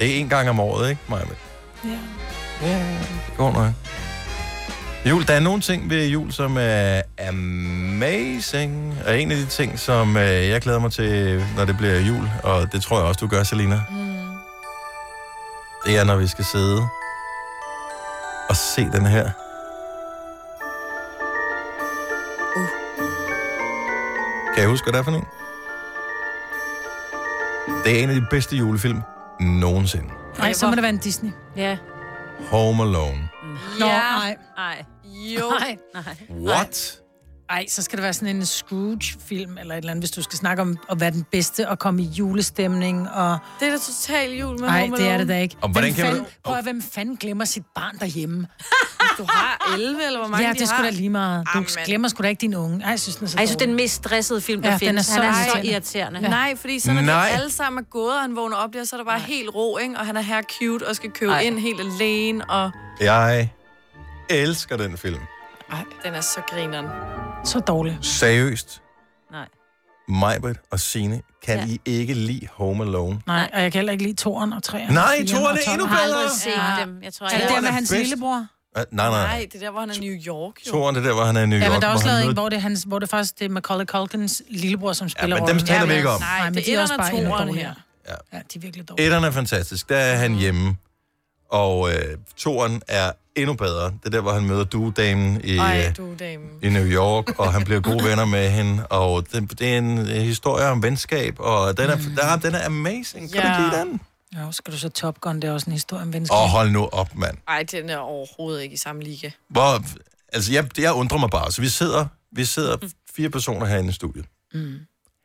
Det er én gang om året, ikke, Maja? Ja. Det går nok. Jul, der er nogle ting ved jul, som er amazing. Og en af de ting, som øh, jeg glæder mig til, når det bliver jul, og det tror jeg også, du gør, Selina, mm. det er, når vi skal sidde og se den her. Uh. Kan jeg huske, hvad det er for en? Det er en af de bedste julefilm nogensinde. Nej, så må det være en Disney. Ja. Home Alone. Nå, nej. Nej. Jo. Nej. nej. What? Ej, så skal det være sådan en Scrooge-film eller et eller andet, hvis du skal snakke om at være den bedste og komme i julestemning. Og... Det er da total jul med Nej, Home det er Alone. det da ikke. Og hvordan Hvem kan man- fanden, Prøv at, hvem fanden glemmer sit barn derhjemme? Du har 11, eller hvor mange ja, de det er sgu har. da lige meget. Du Amen. glemmer sgu da ikke din unge. Ej, jeg synes, den er så Ej, jeg synes, det er dårlig. den mest stressede film, der Ja, ja, den findes. er Han så er så irriterende. irriterende. Ja. Nej, fordi så når Nej. de alle sammen er gået, og han vågner op der, så er der bare helt ro, ikke? Og han er her cute og skal købe Ej. Ej. ind helt alene, og Jeg elsker den film. Ej. den er så grineren. Så dårlig. Seriøst. Nej. Majbert og Sine kan ja. I ikke lide Home Alone? Nej, og jeg kan heller ikke lide toren og træerne. Nej, og fireren toeren er og endnu Jeg har bedre. aldrig Se set dem. dem. Jeg tror, Er det jeg... der Toeren er med hans bedst. lillebror? Ah, Nej, nej, nej. Nej, det er der, hvor han er i New York. Toren det er der, hvor han er i New York. Ja, men der er også hvor han lavet en, møder- hvor det, er hans, hvor det faktisk det er Macaulay Culkins lillebror, som spiller men dem rollen. taler vi ikke om. Nej, men det de er er også bare etteren og endnu toeren dårligere. Ja. ja, de er virkelig dårlige. Etteren er fantastisk. Der er han hjemme. Og øh, toren er endnu bedre. Det er der, hvor han møder duedamen i, Ej, øh, du dame. i New York, og han bliver gode venner med hende. Og det, det er en øh, historie om venskab, og den er, der, den er amazing. Kan ja. du lide den? Mm. Ja, og skal du så Top Gun, det er også en historie om venskab. Åh, oh, hold nu op, mand. Ej, den er overhovedet ikke i samme liga. Hvor, altså, jeg, jeg undrer mig bare. Så vi sidder, vi sidder Mm. fire personer herinde i studiet. Mm.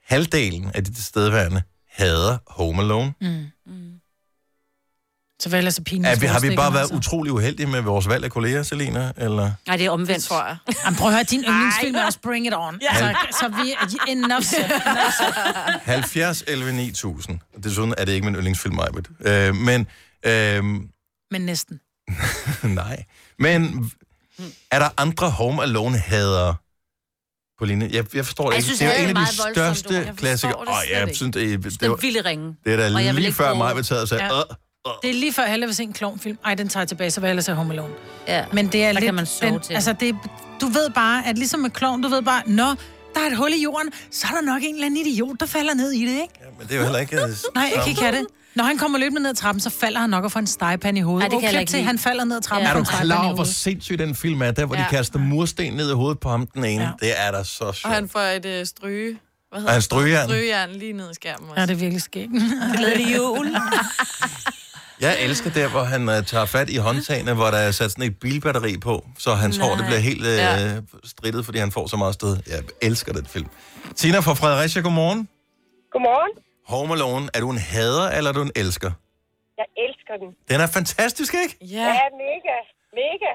Halvdelen af de tilstedeværende hader Home Alone. Mm. Så vel altså pinligt. Altså. Er vi, har vi bare været utrolig uheldige med vores valg af kolleger, Selina? Eller? Nej, det er omvendt. Det tror jeg. Jamen, prøv at høre, din yndlingsfilm er også Bring It On. Ja. Ja. Så, så vi er enough said, enough said. 70, 11, 9000. Desuden er det ikke min yndlingsfilm, Majbet. Øh, men, øh, Men næsten. nej. Men Mm. er der andre Home Alone-hadere på linje? Jeg, jeg forstår det Jeg ikke. synes, det er hadet jo en er af meget de voldsomt ord. Jeg største forstår klassikere. det Åh, slet jeg ikke. synes, det, det, det, Den var- vilde ringe. det er Og jeg da vil lige ikke før bruge- Majbet sad og sagde, Ja. ja. Det er lige før alle vil se en klovnfilm. Ej, den tager jeg tilbage, så var jeg ellers have Home Alone. Ja. Men det er Der lidt... kan man sove den, til. Altså, det, du ved bare, at ligesom med klovn, du ved bare, når der er et hul i jorden, så er der nok en eller anden idiot, der falder ned i det, ikke? men det er jo heller ikke... øh, Nej, jeg kan ikke have det. Når han kommer løbende ned ad trappen, så falder han nok og får en stegepande i hovedet. Ej, det kan jeg Og klip ikke til, lide. han falder ned ad trappen. Ja. Er og du får en stegepande klar i over, hvor hovedet. sindssyg den film er, der hvor de Ja. kaster mursten ned i hovedet på ham, den ene? Ja. Det er da så sjovt. Og han får et øh, stryge... Hvad Og han strygejern. Strygejern lige ned i skærmen også. Ja, det er virkelig skægt. Glædelig jul. Jeg elsker der, hvor han uh, tager fat i håndtagene, hvor der er sat sådan et bilbatteri på, så hans hår det Nej. bliver helt uh, Ja. strittet, fordi han får så meget stød. Jeg elsker den film. Tina fra Fredericia, godmorgen. Godmorgen. Home Alone, er du en hader, eller er du en elsker? Jeg elsker den. Den er fantastisk, ikke? Ja, mega. Mega.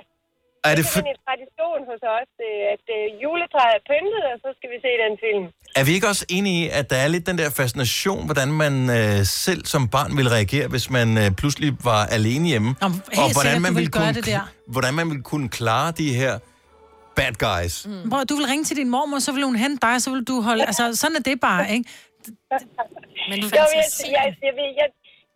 Er det er for... sådan en tradition hos os, øh, at øh, juletræet er pyntet, og så skal vi se den film. Er vi ikke også enige i, at der er lidt den der fascination, hvordan man øh, selv som barn ville reagere, hvis man øh, pludselig var alene hjemme? Nå, helt sikkert, du ville gøre kunne, det der. kl- hvordan man ville kunne klare de her bad guys. Mm. Mm. Bror, du vil ringe til din mormor, så vil hun hente dig, så vil du holde... Altså, sådan er det bare, ikke? Men Jo, jeg, jeg, jeg, ved- jeg,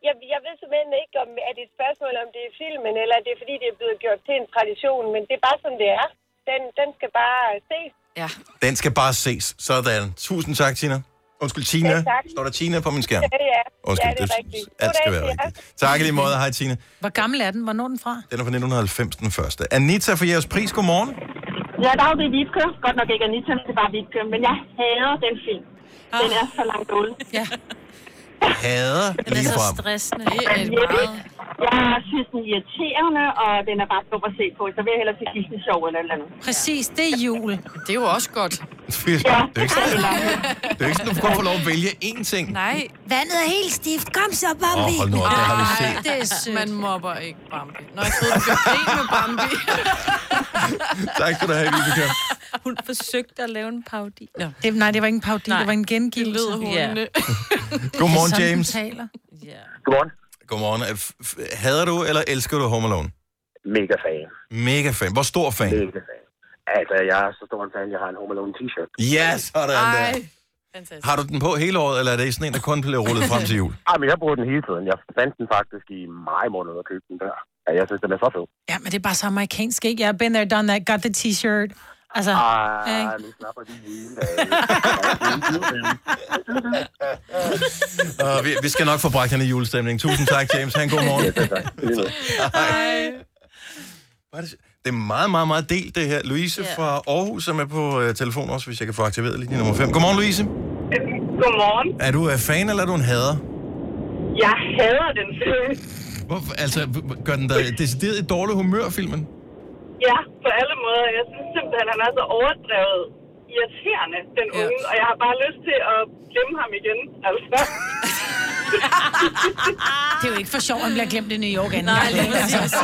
jeg, jeg ved simpelthen ikke, om er det et spørgsmål, om det er filmen, eller er det er, fordi det er blevet gjort til en tradition, men det er bare, som det er. Den, den skal bare ses. Ja. Den skal bare ses. Sådan. Tusind tak, Tina. Undskyld, Tina. Ja, tak. Står der Tina på min skærm? Ja, Undskyld, ja det er rigtigt. alt Goddag skal være til jer. rigtigt. Tak i lige måde. Hej, Tina. Hvor gammel er den? Hvor når den fra? Den er fra 1990, den første. Anita fra jeres pris, godmorgen. Ja, der er jo det Vibke. Godt nok ikke Anita, men det er bare Vibke. Men jeg hader den film. Den er så langt ude. Ja. Hader lige frem. stressende. Jeg synes, den er irriterende, og den er bare dum at se på. Så vil jeg hellere til Disney Show eller et eller andet. Præcis, det er jul. Det er jo også godt. Fy, Det er jo ikke sådan, det er jo ikke sådan, du kun får lov at vælge én ting. Nej. Vandet er helt stift. Kom så, Bambi. Åh, hold nu op, det har vi set. det er sødt. Man mobber ikke Bambi. Når jeg troede, du gjorde grin med Bambi. Tak skal du have, Vibeke. Hun forsøgte at lave en parodi. Ja. Det, nej, det var ikke en parodi, det var en gengivelse. Det lød hundene. Godmorgen, Det er sådan, James. den taler. Godmorgen. Godmorgen. Er f- f- Hader du eller elsker du Home Alone? Mega fan. Mega fan. Hvor stor fan? Mega fan. Altså, jeg er så stor en fan, jeg har en Home Alone t-shirt. Ja, sådan der. Fantastisk. Har du den på hele året, eller er det sådan en, der kun bliver rullet frem til jul? Ej, men jeg bruger den hele tiden. Jeg fandt den faktisk i maj måned og købte den der. Ja, jeg synes, den er så fed. Ja, men det er bare så amerikansk, ikke? Jeg yeah, been there, done that, got the t-shirt. Altså, ah, ikke? nu slapper de lige. Og Øh, vi, vi skal nok få bragt hende i julestemning. Tusind tak, James. Ha' en god morgen. Hej. Hvor er det- Det er meget, meget, meget delt, det her. Louise Ja. fra Aarhus er med på øh, telefon også, hvis jeg kan få aktiveret lige nummer 5. Godmorgen, Louise. Godmorgen. Er du øh, fan, eller er du en hader? Jeg hader den følelse. Hvor, altså, h- gør den dig decideret i dårlig humør, filmen? Ja, på alle måder. Jeg synes simpelthen, han er så overdrevet irriterende, den unge. Og jeg har bare lyst til at glemme ham igen, altså. Det er jo ikke for sjovt, at han bliver glemt i New York Altså, anden Nej, gang. lige præcis.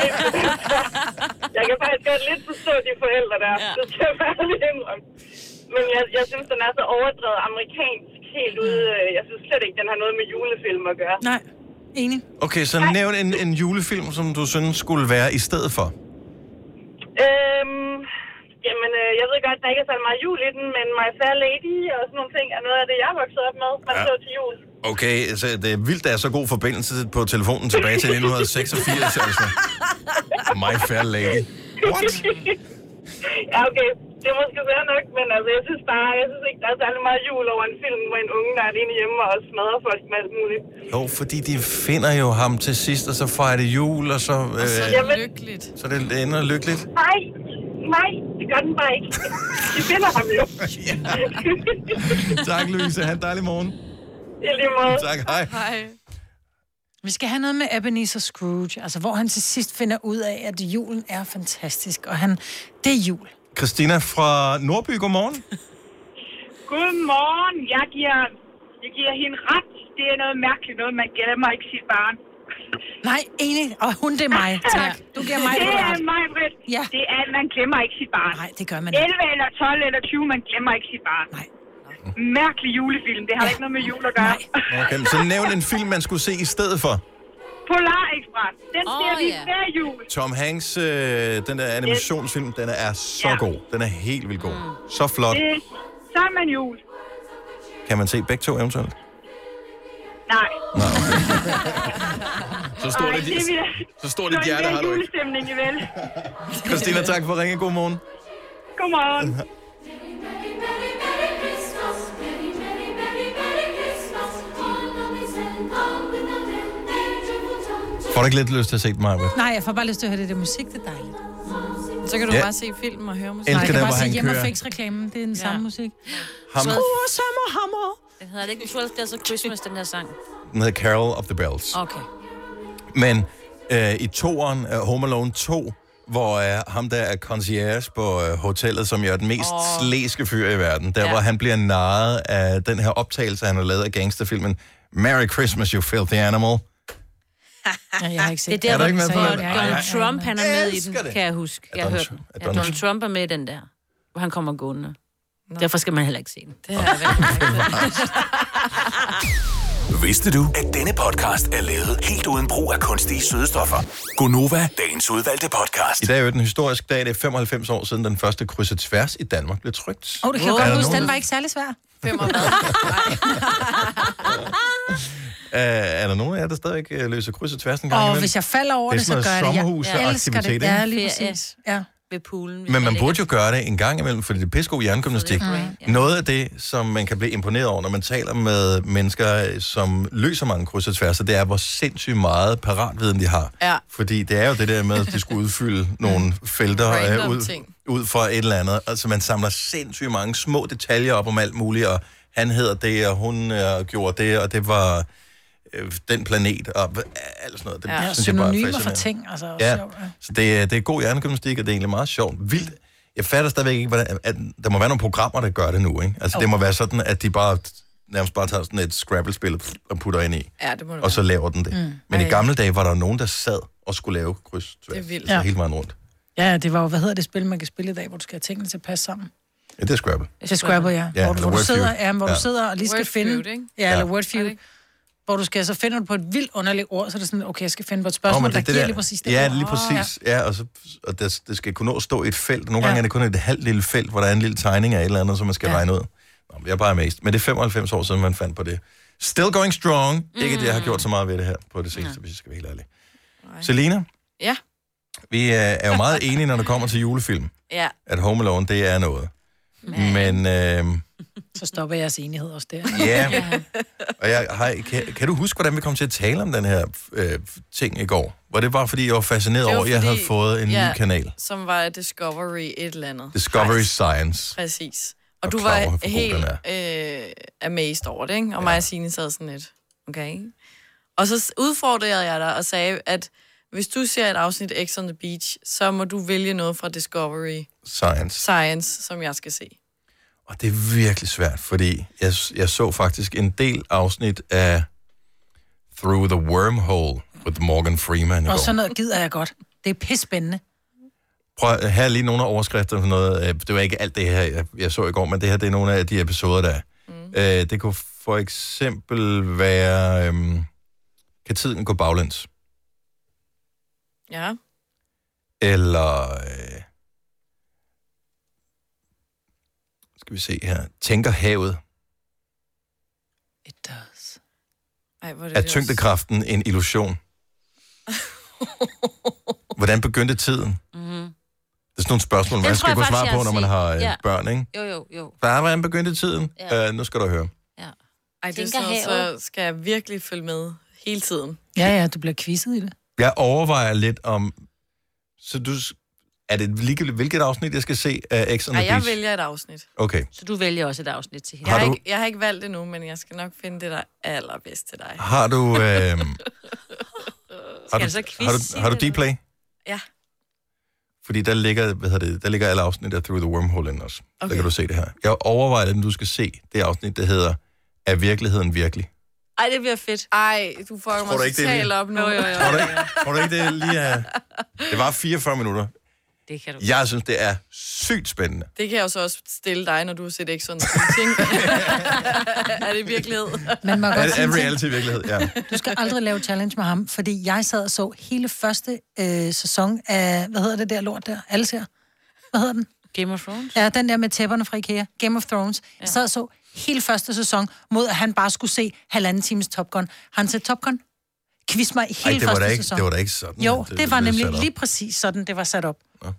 jeg kan faktisk godt lidt forstå de forældre der. Ja. Det skal jeg være indrømme. Men jeg, jeg synes, den er så overdrevet amerikansk helt ude. øh, Jeg synes slet ikke, den har noget med julefilm at gøre. Nej, enig. Okay, så nævn en, en julefilm, som du synes skulle være i stedet for. Øhm, jamen, øh, jeg ved godt, der ikke er så meget jul i den, men My Fair Lady og sådan nogle ting er noget af det, jeg er vokset op med, man Ja. ja. så til jul. Okay, så det er vildt, der er så god forbindelse på telefonen tilbage til 1986, altså. My fair lady. What? ja, okay. Det er måske svært nok, men altså, jeg synes bare, jeg synes ikke, der er særlig meget jul over en film, hvor en unge, der er alene hjemme og smadrer folk med alt muligt. Jo, fordi de finder jo ham til sidst, og så fejrer det jul, og så... Øh, lykkeligt. så det ender lykkeligt. Nej, nej, det gør den bare ikke. De finder ham jo. tak, Louise. Ha' en dejlig morgen. I lige måde. Tak, hej. Hej. Vi skal have noget med Ebenezer Scrooge, altså hvor han til sidst finder ud af, at julen er fantastisk, og han, det er jul. Christina fra Nordby, godmorgen. Godmorgen. Jeg giver, jeg giver hende ret. Det er noget mærkeligt noget, man glemmer ikke sit barn. Nej, enig. Og hun, det er mig. Tak. Du giver mig Det er ret. mig, Britt. Ja. Det er, at man glemmer ikke sit barn. Nej, det gør man ikke. ikke. 11 eller 12 eller 20, man glemmer ikke sit barn. Nej. Mærkelig julefilm. Det har ja. ikke noget med jul at gøre. Okay, så nævn en film, man skulle se i stedet for. Polar Express. Den Åh, ser vi ja. hver jul. Tom Hanks, øh, den der animationsfilm, den er så god. Den er helt vildt god. Så flot. Det, så er man jul. Kan man se begge to eventuelt? Nej. Så stort et- så stort et hjerte har du ikke. julestemning, vel? Christina, tak for at ringe. God morgen. Godmorgen. Får du ikke lidt lyst til at se den, Maja? Nej, jeg får bare lyst til at høre det der musik, det er dejligt. Så kan du Ja. ja. bare se filmen og høre musik. Elsker Nej, jeg den, kan hvor bare han sige hjemme kører. og fix reklamen, det er den ja. samme musik. Ham, Summer Hammer. Den hedder det ikke 12 Days of Christmas, den her sang. den hedder Carol of the Bells. Okay. Men øh, i toeren, øh, Home Alone 2, hvor øh, ham der er concierge på øh, hotellet, som jo er den mest oh. slæske fyr i verden, der ja. hvor han bliver narret af den her optagelse, han har lavet af gangsterfilmen Merry Christmas, you filthy animal. Ja, jeg har ikke set det. Er er du der, ikke hvor med den på sagde, den? Ej, at Donald ej, ej. Trump, han er med i den, Elsker det. kan jeg huske. Jeg Donald- hørte den. er Ja, Donald Donald Trump er med i den der, hvor han kommer gående. Derfor skal man heller ikke se den. Det Vidste du, at denne podcast er lavet helt uden brug af kunstige sødestoffer? Gonova, dagens udvalgte podcast. I dag er jo den historisk dag, det er 95 år siden den første krydse tværs i Danmark blev trygt. Åh, oh, det kan jeg Er godt der huske, nogen, den var ikke særlig svær. Øh, er der nogen af jer, der stadig øh, løser kryds og tværs en gang Og imellem? hvis jeg falder over det, er så gør sådan det. noget Jeg, jeg elsker det. sommerhusaktivitet, Ja, ikke? lige Ferie. præcis. Ja. Ved poolen. Men man burde jo gøre det en gang imellem, fordi det er pissegod hjernegymnastik. Mm. Noget af det, som man kan blive imponeret over, når man taler med mennesker, som løser mange kryds og tværs, det er, hvor sindssygt meget paratviden de har. Ja. Mm. Fordi det er jo det der med, at de skulle udfylde nogle felter Random øh, ud, ting. ud fra et eller andet. Altså, man samler sindssygt mange små detaljer op om alt muligt, og han hedder det, og hun øh, gjorde det, og det var øh, den planet, og hva- alt sådan noget. Det Ja, synes jeg bare er synonymer for fascinerende. ting, altså. Ja, sjovt, ja. så det, er- det er god hjernegymnastik, og det er egentlig meget sjovt. Vildt. Jeg fatter stadigvæk ikke, hvordan, at der må være nogle programmer, der gør det nu, ikke? Altså, oh. det må være sådan, at de bare nærmest bare tager sådan et Scrabble-spil og putter ind i, Ja, det må det og så laver den det. Mm. Mm. Men i Ej. gamle dage var der nogen, der sad og skulle lave kryds tværs, Det er vildt. altså Ja. hele vejen rundt. Ja, det var jo, hvad hedder det spil, man kan spille i dag, hvor du skal have tingene til at passe sammen. Ja, det er Scrabble. Det er Scrabble, ja. Ja, Hvor, du, eller hvor, du Wordfeud. sidder, ja, hvor Ja. du sidder og lige skal Wordfeud, finde... ikke? Ja, eller Ja. Wordfeud. Hvor du skal, så finder du på et vildt underligt ord, så er det sådan, okay, jeg skal finde på et Nå, spørgsmål, men oh, der giver lige præcis det Ja, ord. lige Åh, præcis. Ah, Ja, og, så, og det, det skal kunne nå at stå i et felt. Nogle Ja. gange er det kun et halvt lille felt, hvor der er en lille tegning af et eller andet, som man skal ja. regne ud. Nå, men jeg er bare amazed. Men det er 95 år siden, man fandt på det. Still going strong. Mm. Ikke, at jeg har gjort så meget ved det her på det seneste, hvis jeg skal være helt ærlig. Selina, Ja. Vi er, er jo meget enige, når det kommer til julefilm, Ja. at Home Alone, det er noget. Men, øh, Så stopper jeres enighed også der. Ja. og jeg, hej, kan, kan du huske, hvordan vi kom til at tale om den her øh, ting i går? Var det bare, fordi jeg var fascineret Det var over, at jeg fordi- havde fået en ja, ny kanal? Som var Discovery et eller andet. Discovery Science. Præcis. Og, Og du klar over, var hvor god helt øh, amazed over det, ikke? Og ja. mig og Signe sad sådan lidt, okay. Og så s- udfordrede jeg dig og sagde, at hvis du ser et afsnit af X on the Beach, så må du vælge noget fra Discovery Science. Science, som jeg skal se. Og det er virkelig svært, fordi jeg, jeg så faktisk en del afsnit af Through the Wormhole with Morgan Freeman i Og går. sådan noget gider jeg godt. Det er pissespændende. Prøv at have lige nogle af overskrifterne for noget. Øh, Det var ikke alt det her, jeg, jeg så i går, men det her, det er nogle af de episoder, der er. Mm. Øh, det kunne for eksempel være, øhm, kan tiden gå baglæns? Ja. Eller, øh, skal vi se her, tænker havet, Ej, hvor er det tyngdekraften en illusion? Hvordan begyndte tiden? Mm-hmm. Det er sådan nogle spørgsmål, man skal kunne svare på, når man har øh, børn, ikke? Jo, jo, jo. Bare, hvordan begyndte tiden? Ja. Øh, nu skal du høre. Ej, det er Tænker sådan noget, havet. så skal jeg virkelig følge med hele tiden. Ja, ja, du bliver quizzet i det. Jeg overvejer lidt om... Så du... Er det ligegyldigt, hvilket afsnit, jeg skal se af X on Ej, the jeg Beach? vælger et afsnit. Okay. Så du vælger også et afsnit til Jeg Har har, du- ikke, jeg har ikke valgt det nu, men jeg skal nok finde det, der er allerbedst til dig. Har du... Øh, har, du Skal jeg så quiz har i du, har du det, eller D-Play? Ja. Fordi der ligger, hvad hedder det, der ligger alle afsnit af Through the Wormhole inde også. Okay. Der Okay. kan du se det her. Jeg overvejer, at du skal se det afsnit, der hedder Er virkeligheden virkelig? Ej, det bliver fedt. Ej, du får Tror du mig ikke, det er totalt lige- op nu. Jo, jo, jo. Tror du ikke, tror du ikke det lige er... Det var 44 minutter. Det kan du. Jeg synes, det er sygt spændende. Det kan jeg jo så også stille dig, når du har set X on the Beach, ikke? er det virkelighed? Man må Er, godt sige er en ting. reality virkelighed? Ja. Du skal aldrig lave challenge med ham, fordi jeg sad og så hele første øh, sæson af, hvad hedder det der lort der? Alle ser. Hvad hedder den? Game of Thrones? Ja, den der med tæpperne fra Ikea. Game of Thrones. Ja. Jeg sad og så hele første sæson mod, at han bare skulle se halvanden times Top Gun. Har han set Top Gun? Quiz mig hele Ej, det var første da ikke- sæson. det var da ikke sådan, Jo, at det det, det var blev nemlig sat op. lige præcis sådan, det var sat op. Ja.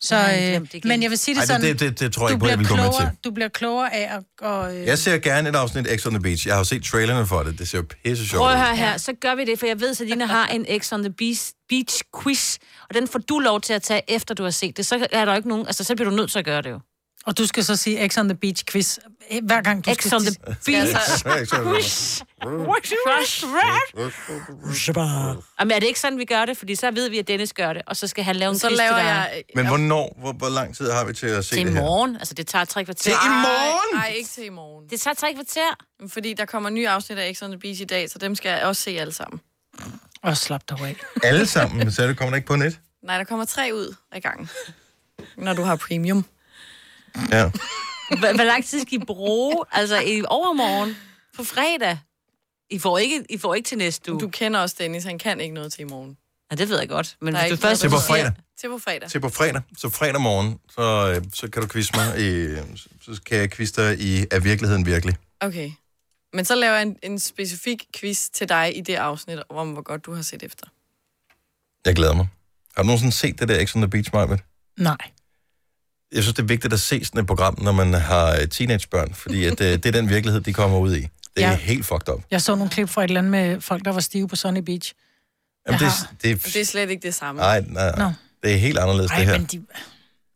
Så, Ja, jeg øh, glemte igen. men jeg vil sige det Ej, det- sådan, det- det- det tror jeg du ikke på, jeg bliver ville gå med klogere- til. Du bliver klogere af at... Og, øh, Jeg ser gerne et afsnit X on the Beach. Jeg har jo set trailerne for det. Det ser jo pisse sjovt Prøv ud. at høre her, så gør vi det, for jeg ved, at Selina har en X on the Beach, beach quiz, og den får du lov til at tage, efter du har set det. Så er der jo ikke nogen, altså så bliver du nødt til at gøre det jo. og du skal så sige X on the Beach quiz, øh, hver gang du X on the beach. Quiz. Crush. Jamen, er det ikke sådan, vi gør det? Fordi så ved vi, at Dennis gør det, og så skal han lave en Så quiz laver til dig. jeg... Men hvornår, hvor, hvor lang tid har vi til at se Til i det her? morgen. Altså, det tager tre kvarter. Til i morgen? Nej, ikke til i morgen. Det tager tre kvarter. Fordi der kommer nye afsnit af X on the Beach i dag, så dem skal jeg også se alle sammen. Og slap dig af. Alle sammen, så det kommer der ikke på net. Nej, der kommer tre ud ad gangen. Når du har premium. Ja. Hvor hvor lang tid skal I bruge? Altså, i overmorgen? På fredag? I får ikke, I får ikke til næste uge. Du kender også Dennis, han kan ikke noget til i morgen. Ja, det ved jeg godt. Men Der hvis er du ikke først... noget, du der hedder- siger- Til på fredag. Til på fredag. Så fredag morgen, så, øh, så kan du quizze mig. I, så kan jeg quizze dig i Er virkeligheden virkelig? Okay. Men så laver jeg en, en specifik quiz til dig i det afsnit, om hvor godt du har set efter. Jeg glæder mig. Har du nogensinde set det der X on the Beach, Marvitt? Nej. Jeg synes, det er vigtigt at se sådan et program, når man har øh, teenagebørn, fordi at, øh, det er den virkelighed, de kommer ud i. Det er Ja. helt fucked up. Jeg så nogle klip fra et eller andet med folk, der var stive på Sunny Beach. Jamen, det, Jeg er- det, Det er slet ikke det samme. nej, nej, Nå. nej. Det er helt anderledes, Ej, det her. men de...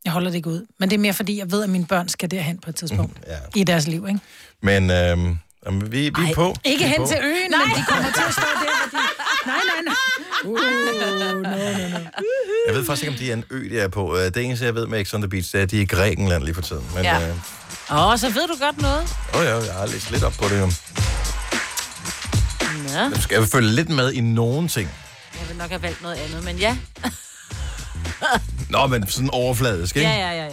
Jeg holder det ikke ud. Men det er mere, fordi jeg ved, at mine børn skal derhen på et tidspunkt Mm-hmm. ja. i deres liv, ikke? Men øhm, jamen, vi, vi er på. Ikke vi er hen på. til øen, nej. men de kommer til at stå der, hvor de... Nej, nej, nej. Uh, no, no, no. Jeg ved faktisk ikke, om de er en ø, de er på. Øh, Det eneste, jeg ved med X on the Beach, det er, at de er i Grækenland lige for tiden. Men ja. Ja. øh, Åh, oh, så ved du godt noget. åh, ja, jeg har læst lidt op på det. jo. Ja. Nu skal jeg følge lidt med i nogen ting. Jeg vil nok have valgt noget andet, men ja. Nå, men sådan overfladisk, ikke? Ja, ja, ja, ja.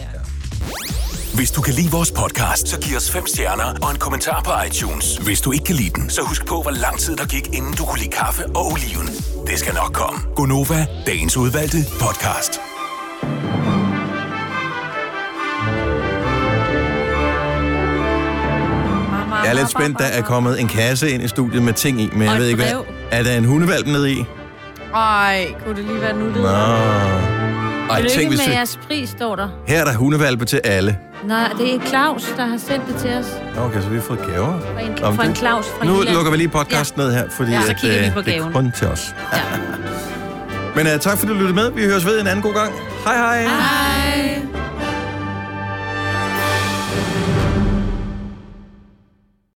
Hvis du kan lide vores podcast, så giv os fem stjerner og en kommentar på iTunes. Hvis du ikke kan lide den, så husk på, hvor lang tid der gik, inden du kunne lide kaffe og oliven. Det skal nok komme. Gonova, Dagens udvalgte podcast. Jeg er lidt spændt. Der er kommet en kasse ind i studiet med ting i, men Og jeg et ved ikke, hvad... brev. Er der en hundevalp nede i? Ej, kunne det lige være nu, det Nå. Ej, tænk, Lykke hvis med vi... jeres pris, står der. Her er der hundevalpe til alle. Nej, det er Claus, der har sendt det til os. Nå, Okay, så vi har fået gaver. Fra en- Nå, men fra en det- Claus fra Nu Jylland. lukker vi lige podcasten ned her, fordi Ja, så at, kigger vi øh, på det er gaven. kun øh, til os. Men uh, tak fordi du lyttede med. Vi høres ved en anden god gang. Hej hej. Hej.